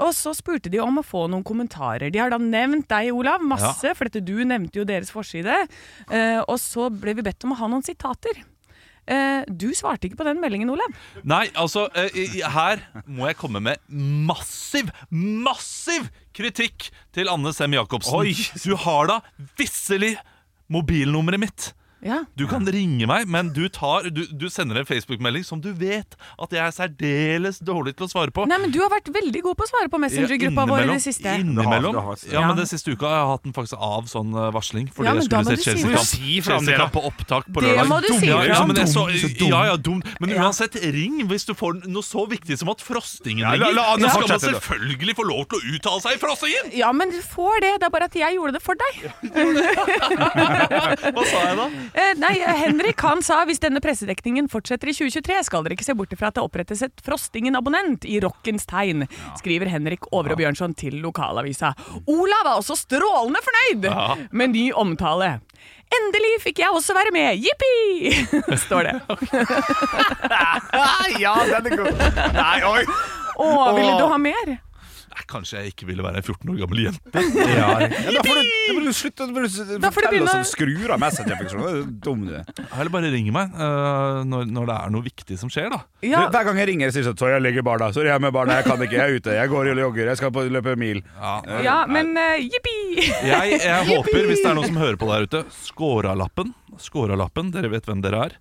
Speaker 5: Og så spurte de om å få noen kommentarer. De har da nevnt deg, Olav, masse, for dette du nevnte jo deres forside. Eh, og så ble vi bedt om å ha noen sitater. Eh, du svarte ikke på den meldingen, Olav.
Speaker 3: Nei, altså, eh, i- i- her må jeg komme med massiv, massiv kritikk til Anne Sem Jacobsen. Du har da visselig mobilnummeret mitt.
Speaker 5: Ja.
Speaker 3: Du kan ringe meg, men du, tar, du, du sender en Facebook-melding som du vet at jeg er særdeles dårlig til å svare på.
Speaker 5: Nei, men du har vært veldig god på å svare på Messenger-gruppa vår i det siste.
Speaker 7: Det har- det
Speaker 3: Innimellom.
Speaker 7: har vært-
Speaker 3: Ja,
Speaker 5: Ja.
Speaker 3: men Den siste uka har jeg hatt den faktisk av sånn eh, varsling. Fordi
Speaker 5: Ja, men
Speaker 3: jeg skulle
Speaker 5: da må
Speaker 3: se
Speaker 5: du si det.
Speaker 3: Chelsea-kamp
Speaker 7: Si fra om det,
Speaker 3: Chelsea-kamp på opptak på
Speaker 5: Det
Speaker 3: lørdag.
Speaker 5: må du si
Speaker 3: ja,
Speaker 5: fra
Speaker 3: ja,
Speaker 5: om.
Speaker 3: men jeg så,
Speaker 7: Dum, så dum.
Speaker 3: ja, ja, dum. Men uansett, ring hvis du får noe så viktig som at frostingen
Speaker 7: Ja, la-
Speaker 3: ringer.
Speaker 7: la Anne
Speaker 3: Så skal man
Speaker 7: fortsette, da.
Speaker 3: selvfølgelig få lov til å uttale seg i frostingen!
Speaker 5: Ja, men du får det. Det er bare at jeg gjorde det for deg.
Speaker 3: Hva sa jeg da?
Speaker 5: Eh, nei, Henrik han sa hvis denne pressedekningen fortsetter i 2023, skal dere ikke se bort ifra at det opprettes et Frostingen-abonnent i rockens tegn, skriver Henrik Over og Bjørnson til lokalavisa. Olav er også strålende fornøyd med ny omtale. Endelig fikk jeg også være med! Jippi! står det.
Speaker 7: Ja, den er god. Nei, oi.
Speaker 5: Å, ville du ha mer?
Speaker 3: Det er Kanskje jeg ikke ville være ei 14 år gammel jente.
Speaker 7: Ja, da får du, da får du slutte å
Speaker 5: Da får du
Speaker 7: fortelle
Speaker 5: begynne
Speaker 7: oss
Speaker 5: å-
Speaker 7: om skrur av Messenger-funksjonen. Det er dum du er.
Speaker 3: Eller bare ring meg eh, når, når det er noe viktig som skjer, da.
Speaker 5: Ja,
Speaker 7: Du, Hver gang jeg ringer, sier sånn Sorry, jeg ligger i barna. Sorry, jeg er med barna. Jeg kan ikke. Jeg er ute. Jeg går og jogger. Jeg skal på løpe mil.
Speaker 5: ja men eh, jippi!
Speaker 3: Jeg, jeg håper, hvis det er noen som hører på der ute Skåralappen. Skåralappen, dere vet hvem dere er.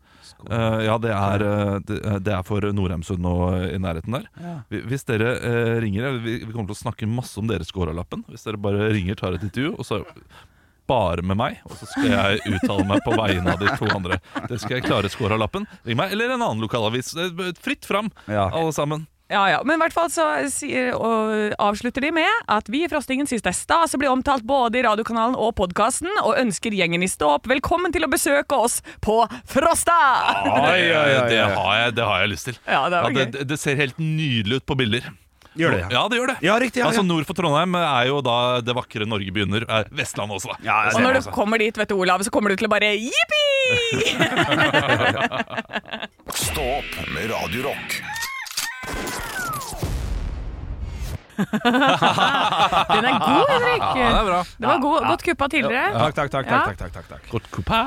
Speaker 3: Eh, ja, det er, eh, det det er for Norheimsund og eh, i nærheten der. Hvi- Hvis dere eh, ringer eller Vi vi kommer til å snakke masse om dere Skåralappen. Hvis dere bare ringer, tar et intervju, og så bare med meg, og så skal jeg uttale meg på vegne av de to andre. Det skal jeg klare Skåralappen. Ring meg, eller en annen lokalavis. Det er Fritt fram,
Speaker 7: Ja.
Speaker 3: alle sammen.
Speaker 5: Ja, ja. Men i hvert fall så sier, og avslutter de med at vi i Frostingen syns det er stas å bli omtalt både i radiokanalen og podkasten, og ønsker gjengen i Stå opp velkommen til å besøke oss på Frosta!
Speaker 3: Oi, oi, oi, det
Speaker 7: ja.
Speaker 3: har jeg, det har jeg lyst til.
Speaker 5: Ja, det var
Speaker 3: det, det, det ser helt nydelig ut på bilder.
Speaker 7: Gjør det.
Speaker 3: Ja, det gjør det.
Speaker 7: Ja, riktig, ja,
Speaker 3: altså,
Speaker 7: ja.
Speaker 3: Nord for Trondheim er jo da det vakre Norge begynner. Er Vestlandet også, da.
Speaker 7: Ja,
Speaker 5: Og når du
Speaker 2: altså-
Speaker 5: kommer dit, vet du, Olav, så kommer du til å bare jippi!
Speaker 6: Stå opp med Radio Rock.
Speaker 5: Den er god, Henrik.
Speaker 3: Ja, det er bra.
Speaker 5: Det var god, godt kuppa tidligere.
Speaker 7: Takk, takk, takk.
Speaker 5: Ja.
Speaker 7: takk, takk, takk, takk.
Speaker 3: Godt kupé.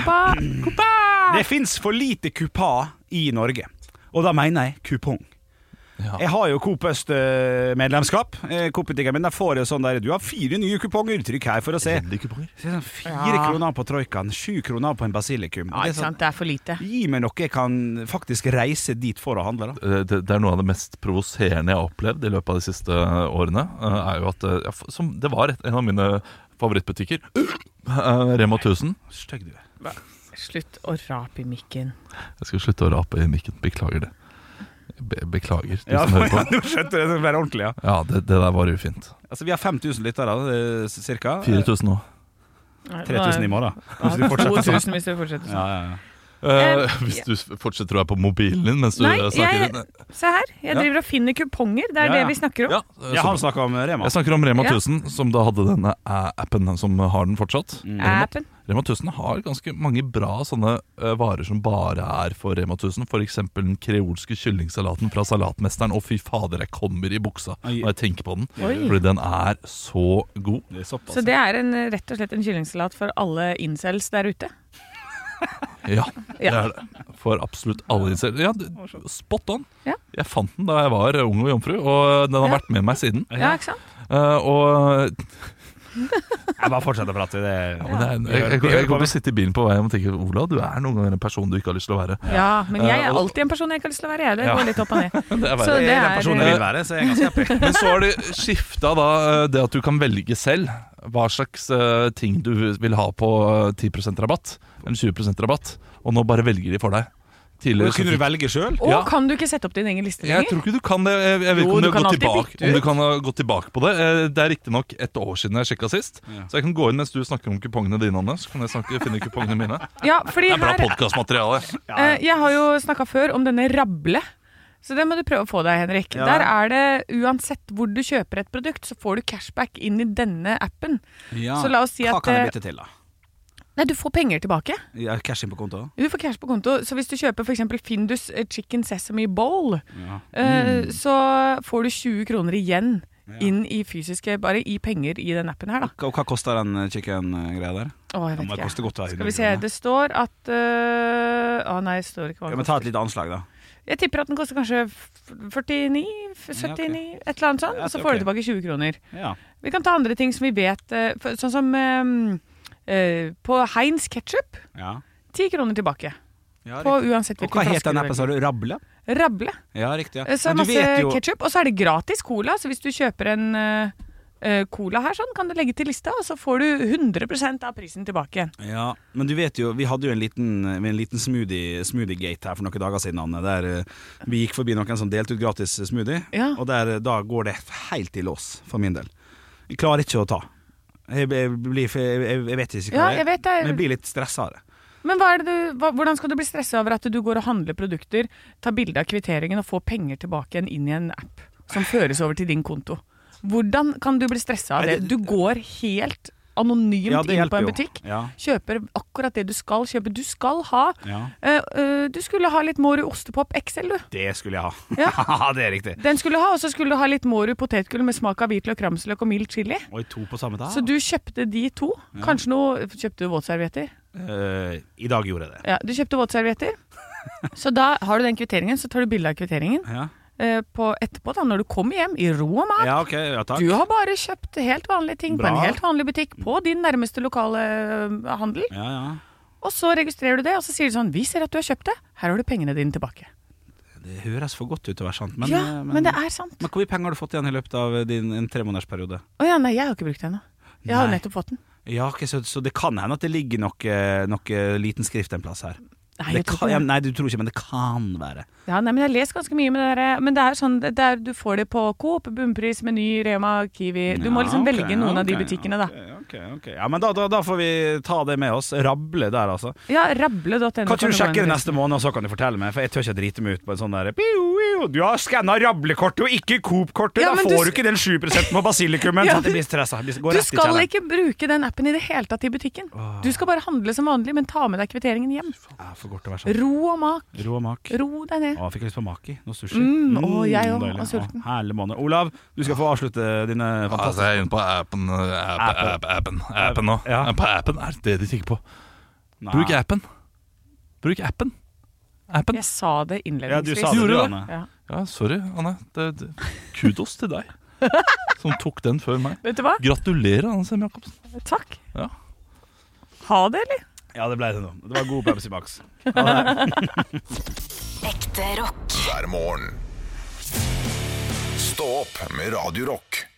Speaker 5: Kuppa. kuppa.
Speaker 2: Det fins for lite kupé i Norge, og da mener jeg kupong. Jeg har jo Coop Øst-medlemskap. eh, Coop-butikken min der får jo sånn der Du har fire nye kuponger! Trykk her for å se.
Speaker 3: Veldig kuponger.
Speaker 2: Så er det sånn Fire
Speaker 5: Ja.
Speaker 2: kroner på Troikan, sju kroner på en basilikum.
Speaker 5: Ja,
Speaker 2: Det er
Speaker 5: ikke
Speaker 2: sånn,
Speaker 5: sant. Det er for lite.
Speaker 2: gi meg noe jeg kan faktisk reise dit for å handle, da.
Speaker 3: Eh, Det, det er noe av det mest provoserende jeg har opplevd i løpet av de siste årene. eh, Er jo at, eh, ja, f- som, det var et, en av mine favorittbutikker. Eh, Rema 1000.
Speaker 2: Stygg du er.
Speaker 5: Slutt å rape i mikken.
Speaker 3: Jeg skal slutte å rape i mikken. Beklager det. Be, beklager, du
Speaker 2: Ja,
Speaker 3: som hører på.
Speaker 2: nå skjønte jeg det være ordentlig, ja.
Speaker 3: Ja, det, det der var ufint.
Speaker 2: Altså, vi har 5000 lyttere, eh, cirka.
Speaker 3: 4000 nå.
Speaker 2: 3000 i morgen. Hvis du fortsetter sånn.
Speaker 5: 2000 hvis du fortsetter sånn.
Speaker 2: Ja, ja, ja.
Speaker 3: Eh,
Speaker 5: Eh,
Speaker 3: hvis du s- fortsetter å være på mobilen din mens du
Speaker 5: Nei,
Speaker 3: eh, snakker
Speaker 5: jeg,
Speaker 3: jeg,
Speaker 5: se her. Jeg driver og finner kuponger. Det
Speaker 2: Ja,
Speaker 5: er
Speaker 2: ja.
Speaker 5: det vi snakker om.
Speaker 3: ja, eh,
Speaker 2: ja,
Speaker 3: så-
Speaker 2: han snakka om Rema.
Speaker 3: Jeg snakker om Rema
Speaker 5: Ja.
Speaker 3: 1000, som da hadde denne eh, appen som har den fortsatt.
Speaker 5: Mm.
Speaker 3: Rema,
Speaker 5: Appen.
Speaker 3: Rema 1000 har ganske mange bra sånne eh, varer som bare er for Rema 1000. F.eks. den kreolske kyllingsalaten fra Salatmesteren. Og fy fader, jeg kommer i buksa
Speaker 2: Ai.
Speaker 3: når jeg tenker på den.
Speaker 5: Oi.
Speaker 3: Fordi den er så god.
Speaker 2: Det er såpass.
Speaker 5: Så det er en, rett og slett en kyllingsalat for alle incels der ute?
Speaker 3: Ja, det
Speaker 5: Ja.
Speaker 3: er det. For absolutt alle insekter. Ja, du- spot on.
Speaker 5: Ja.
Speaker 3: Jeg fant den da jeg var ung og jomfru, og eh, den har
Speaker 5: Ja.
Speaker 3: vært med meg siden.
Speaker 5: Ja, ikke sant?
Speaker 3: Eh, og
Speaker 2: Jeg bare fortsetter å prate. Det er
Speaker 3: Men det er, jeg, jeg, jeg, jeg kommer til å sitte i bilen på vei hjem og tenke Ola, du er noen ganger en person du ikke har lyst til å være.
Speaker 5: Ja, men jeg
Speaker 3: Eh,
Speaker 5: er
Speaker 3: og-
Speaker 5: alltid en person jeg ikke har lyst til å være. Jeg. Det
Speaker 3: Ja.
Speaker 5: går litt opp og ned.
Speaker 3: Det er
Speaker 5: Så
Speaker 3: verre.
Speaker 5: det
Speaker 2: den personen jeg
Speaker 5: er
Speaker 2: vil være, så jeg er ganske happy.
Speaker 3: Men så har det skifta da eh, det at du kan velge selv hva slags eh, ting du vil ha på eh, 10 rabatt eller 20 rabatt, og nå bare velger de for deg. Tidligere så
Speaker 2: Kunne du
Speaker 3: fikk-
Speaker 2: velge sjøl?
Speaker 5: Å,
Speaker 3: Ja.
Speaker 5: kan du ikke sette opp din egen liste
Speaker 3: jeg
Speaker 5: lenger?
Speaker 3: tror ikke du kan det. Jeg, jeg vet
Speaker 5: Jo,
Speaker 3: ikke om
Speaker 5: du
Speaker 3: du, har
Speaker 5: kan
Speaker 3: gått
Speaker 5: alltid
Speaker 3: tilbake,
Speaker 5: bytte ut.
Speaker 3: om du kan ha gått tilbake på det. Eh, Det er riktignok ett år siden jeg sjekka sist, så jeg kan gå inn mens du snakker om kupongene dine, Anne. Så kan jeg snakke, finne kupongene mine.
Speaker 5: Ja, fordi
Speaker 3: Det er bra
Speaker 5: her
Speaker 3: podkastmateriale.
Speaker 5: Eh, Jeg har jo snakka før om denne rable. Så det må du prøve å få deg, Henrik. Der er det Uansett hvor du kjøper et produkt, så får du cashback inn i denne appen. Så la oss si
Speaker 2: Hva
Speaker 5: at
Speaker 2: kan jeg
Speaker 5: eh,
Speaker 2: bytte til, da?
Speaker 5: Nei, du får penger tilbake.
Speaker 2: Jeg har cash inn på konto?
Speaker 5: Du får cash på konto. Så hvis du kjøper f.eks. Findus eh, Chicken Sesame Bowl,
Speaker 2: Mm.
Speaker 5: eh, så får du 20 kroner igjen inn i fysiske Bare i penger i den appen her, da.
Speaker 2: Hva, hva koster den eh, chicken-greia der?
Speaker 5: Å, jeg
Speaker 2: Den må
Speaker 5: vet
Speaker 2: koste
Speaker 5: ikke.
Speaker 2: godt å ha i
Speaker 5: Skal vi se,
Speaker 2: hundre kroner.
Speaker 5: det står at eh, Å nei, det står ikke hva
Speaker 2: Ja,
Speaker 5: den
Speaker 2: men ta et
Speaker 5: koster.
Speaker 2: lite anslag, da.
Speaker 5: Jeg tipper at den koster kanskje f- 49, f- 79, et eller annet sånt.
Speaker 2: Ja,
Speaker 5: Og så
Speaker 2: ok.
Speaker 5: får du tilbake 20 kroner.
Speaker 2: Ja.
Speaker 5: Vi kan ta andre ting som vi vet, eh, for, sånn som eh, eh, på Heinz ketsjup.
Speaker 2: ja.
Speaker 5: 10 kroner tilbake.
Speaker 2: Ja,
Speaker 5: På
Speaker 2: riktig.
Speaker 5: uansett
Speaker 2: og hva
Speaker 5: hvilken
Speaker 2: het
Speaker 5: flaske
Speaker 2: den
Speaker 5: du
Speaker 2: appen,
Speaker 5: velger.
Speaker 2: sa du? Rable?
Speaker 5: Rable.
Speaker 2: Ja, riktig. Ja.
Speaker 5: Eh, Så er
Speaker 2: Men
Speaker 5: det
Speaker 2: du vet
Speaker 5: masse
Speaker 2: jo-
Speaker 5: ketsjup. Og så er det gratis cola. Så hvis du kjøper en eh, eh, cola her, sånn, kan du legge til lista, og så får du 100 av prisen tilbake igjen.
Speaker 2: Ja, men du vet jo, vi hadde jo en liten, eh, en liten smoothie, smoothie gate her for noen dager siden, Anne, der eh, vi gikk forbi noen som delte ut gratis smoothie,
Speaker 5: Ja.
Speaker 2: og der, eh, da går det helt i lås, for min del. Jeg klarer ikke å ta. Jeg, jeg, blir, jeg, jeg- jeg vet ikke hva
Speaker 5: Ja,
Speaker 2: det
Speaker 5: jeg
Speaker 2: er,
Speaker 5: vet det.
Speaker 2: men jeg blir litt stressa av det.
Speaker 5: Men hva er det du, hva, hvordan skal du bli stressa over at du går og handler produkter, tar bilde av kvitteringen og får penger tilbake igjen inn i en app som føres over til din konto? Hvordan kan du bli stressa av det? Du går helt anonymt
Speaker 2: Ja, det
Speaker 5: inn på en
Speaker 2: hjelper jo.
Speaker 5: butikk.
Speaker 2: Ja.
Speaker 5: Kjøper akkurat det du skal kjøpe. Du skal ha
Speaker 2: Ja.
Speaker 5: eh, eh, Du skulle ha litt Mårud ostepop XL, du.
Speaker 2: Det skulle jeg ha.
Speaker 5: Ja.
Speaker 2: det er riktig.
Speaker 5: Den skulle du ha, og så skulle du ha litt Mårud potetgull med smak av hvitløk, ramsløk og mild chili.
Speaker 2: Oi, to på samme dag?
Speaker 5: Så du kjøpte de to. Kanskje noe Kjøpte du våtservietter?
Speaker 2: Eh, I dag gjorde jeg det.
Speaker 5: Ja, du kjøpte våtservietter. Så da har du den kvitteringen, så tar du bilde av kvitteringen
Speaker 2: Ja,
Speaker 5: eh, på etterpå, da, når du kommer hjem i ro og mat.
Speaker 2: ja ok. Ja, takk.
Speaker 5: Du har bare kjøpt helt vanlige ting på
Speaker 2: Bra. Mm.
Speaker 5: en helt vanlig butikk på din nærmeste lokale eh, handel.
Speaker 2: Ja, ja.
Speaker 5: Og så registrerer du det, og så sier de sånn Vi ser at du har kjøpt det. Her har du pengene dine tilbake.
Speaker 2: Det høres for godt ut til å være sant, men,
Speaker 5: ja,
Speaker 2: eh,
Speaker 5: men, det er sant.
Speaker 2: men hvor mye penger har du fått igjen i løpet av din en tremånedersperiode?
Speaker 5: Å ja, nei, jeg har ikke brukt det ennå. Jeg har
Speaker 2: Nei.
Speaker 5: nettopp fått den.
Speaker 2: Ja, ok, så, så det kan hende at det ligger noe, noe eh, liten skrift en plass her.
Speaker 5: Nei,
Speaker 2: det
Speaker 5: jeg tror
Speaker 2: kan,
Speaker 5: ikke
Speaker 2: ja,
Speaker 5: det.
Speaker 2: nei, du tror ikke, men det kan være.
Speaker 5: Ja, nei, men jeg har lest ganske mye med det der. Men det er sånn det er, Du får det på Coop, Bunnpris, Meny, Rema, Kiwi Du må
Speaker 2: Ja,
Speaker 5: liksom
Speaker 2: ok,
Speaker 5: velge noen av de
Speaker 2: ok,
Speaker 5: butikkene, da.
Speaker 2: ok, ok, ok. Ja, men da, da, da får vi ta det med oss. Rable der, altså.
Speaker 5: Ja, rable.no.
Speaker 2: Kan ikke du
Speaker 5: gå inn
Speaker 2: sjekke det
Speaker 5: og-
Speaker 2: neste måned, og så kan du fortelle meg? For jeg tør ikke drite meg ut på en sånn der «Piu, piu, Du har skanna rablekortet og ikke Coop-kortet!
Speaker 5: Ja,
Speaker 2: da
Speaker 5: men
Speaker 2: får du
Speaker 5: du s-
Speaker 2: ikke den 7 på basilikumen! sånn
Speaker 5: Ja,
Speaker 2: at jeg
Speaker 5: men
Speaker 2: blir stressa. Jeg blir- Går
Speaker 5: Du
Speaker 2: rett i
Speaker 5: skal
Speaker 2: kjelleren.
Speaker 5: ikke bruke den appen i det hele tatt i butikken. Du skal bare handle som vanlig, men ta med deg kvitteringen hjem.
Speaker 2: Ja, for godt til å være sånn.
Speaker 5: Ro og mak.
Speaker 2: Rå mak.
Speaker 5: Ro deg ned.
Speaker 2: Å, fikk jeg lyst på maki. Noe sushi.
Speaker 5: Mm, å, jeg òg.
Speaker 2: deilig.
Speaker 5: Og sulten.
Speaker 2: Å, herlig måned. Olav, du skal få avslutte dine
Speaker 3: Altså,
Speaker 2: fantastiske
Speaker 3: jeg er inne på appen eh, app,
Speaker 2: Appen.
Speaker 3: app, appen, appen nå.
Speaker 2: Ja.
Speaker 3: På appen er det de kikker på.
Speaker 2: Nei.
Speaker 3: Bruk appen. Bruk appen. Appen.
Speaker 5: Jeg sa det
Speaker 2: Ja, du
Speaker 5: innledningsvis.
Speaker 2: sa det,
Speaker 3: Gjorde
Speaker 2: du,
Speaker 3: du?
Speaker 2: Anne.
Speaker 5: Ja.
Speaker 3: Ja, sorry, Anne. Det, det. Kudos til deg som tok den før meg.
Speaker 5: Vet du hva?
Speaker 3: Gratulerer, Anne Sem Jacobsen.
Speaker 5: Takk.
Speaker 3: Ja.
Speaker 5: Ha det, eller?
Speaker 2: Ja, det ble det nå. Det var god Pepsi Max.
Speaker 4: Ekte rock.
Speaker 6: hver morgen. Stå opp med Radio Rock.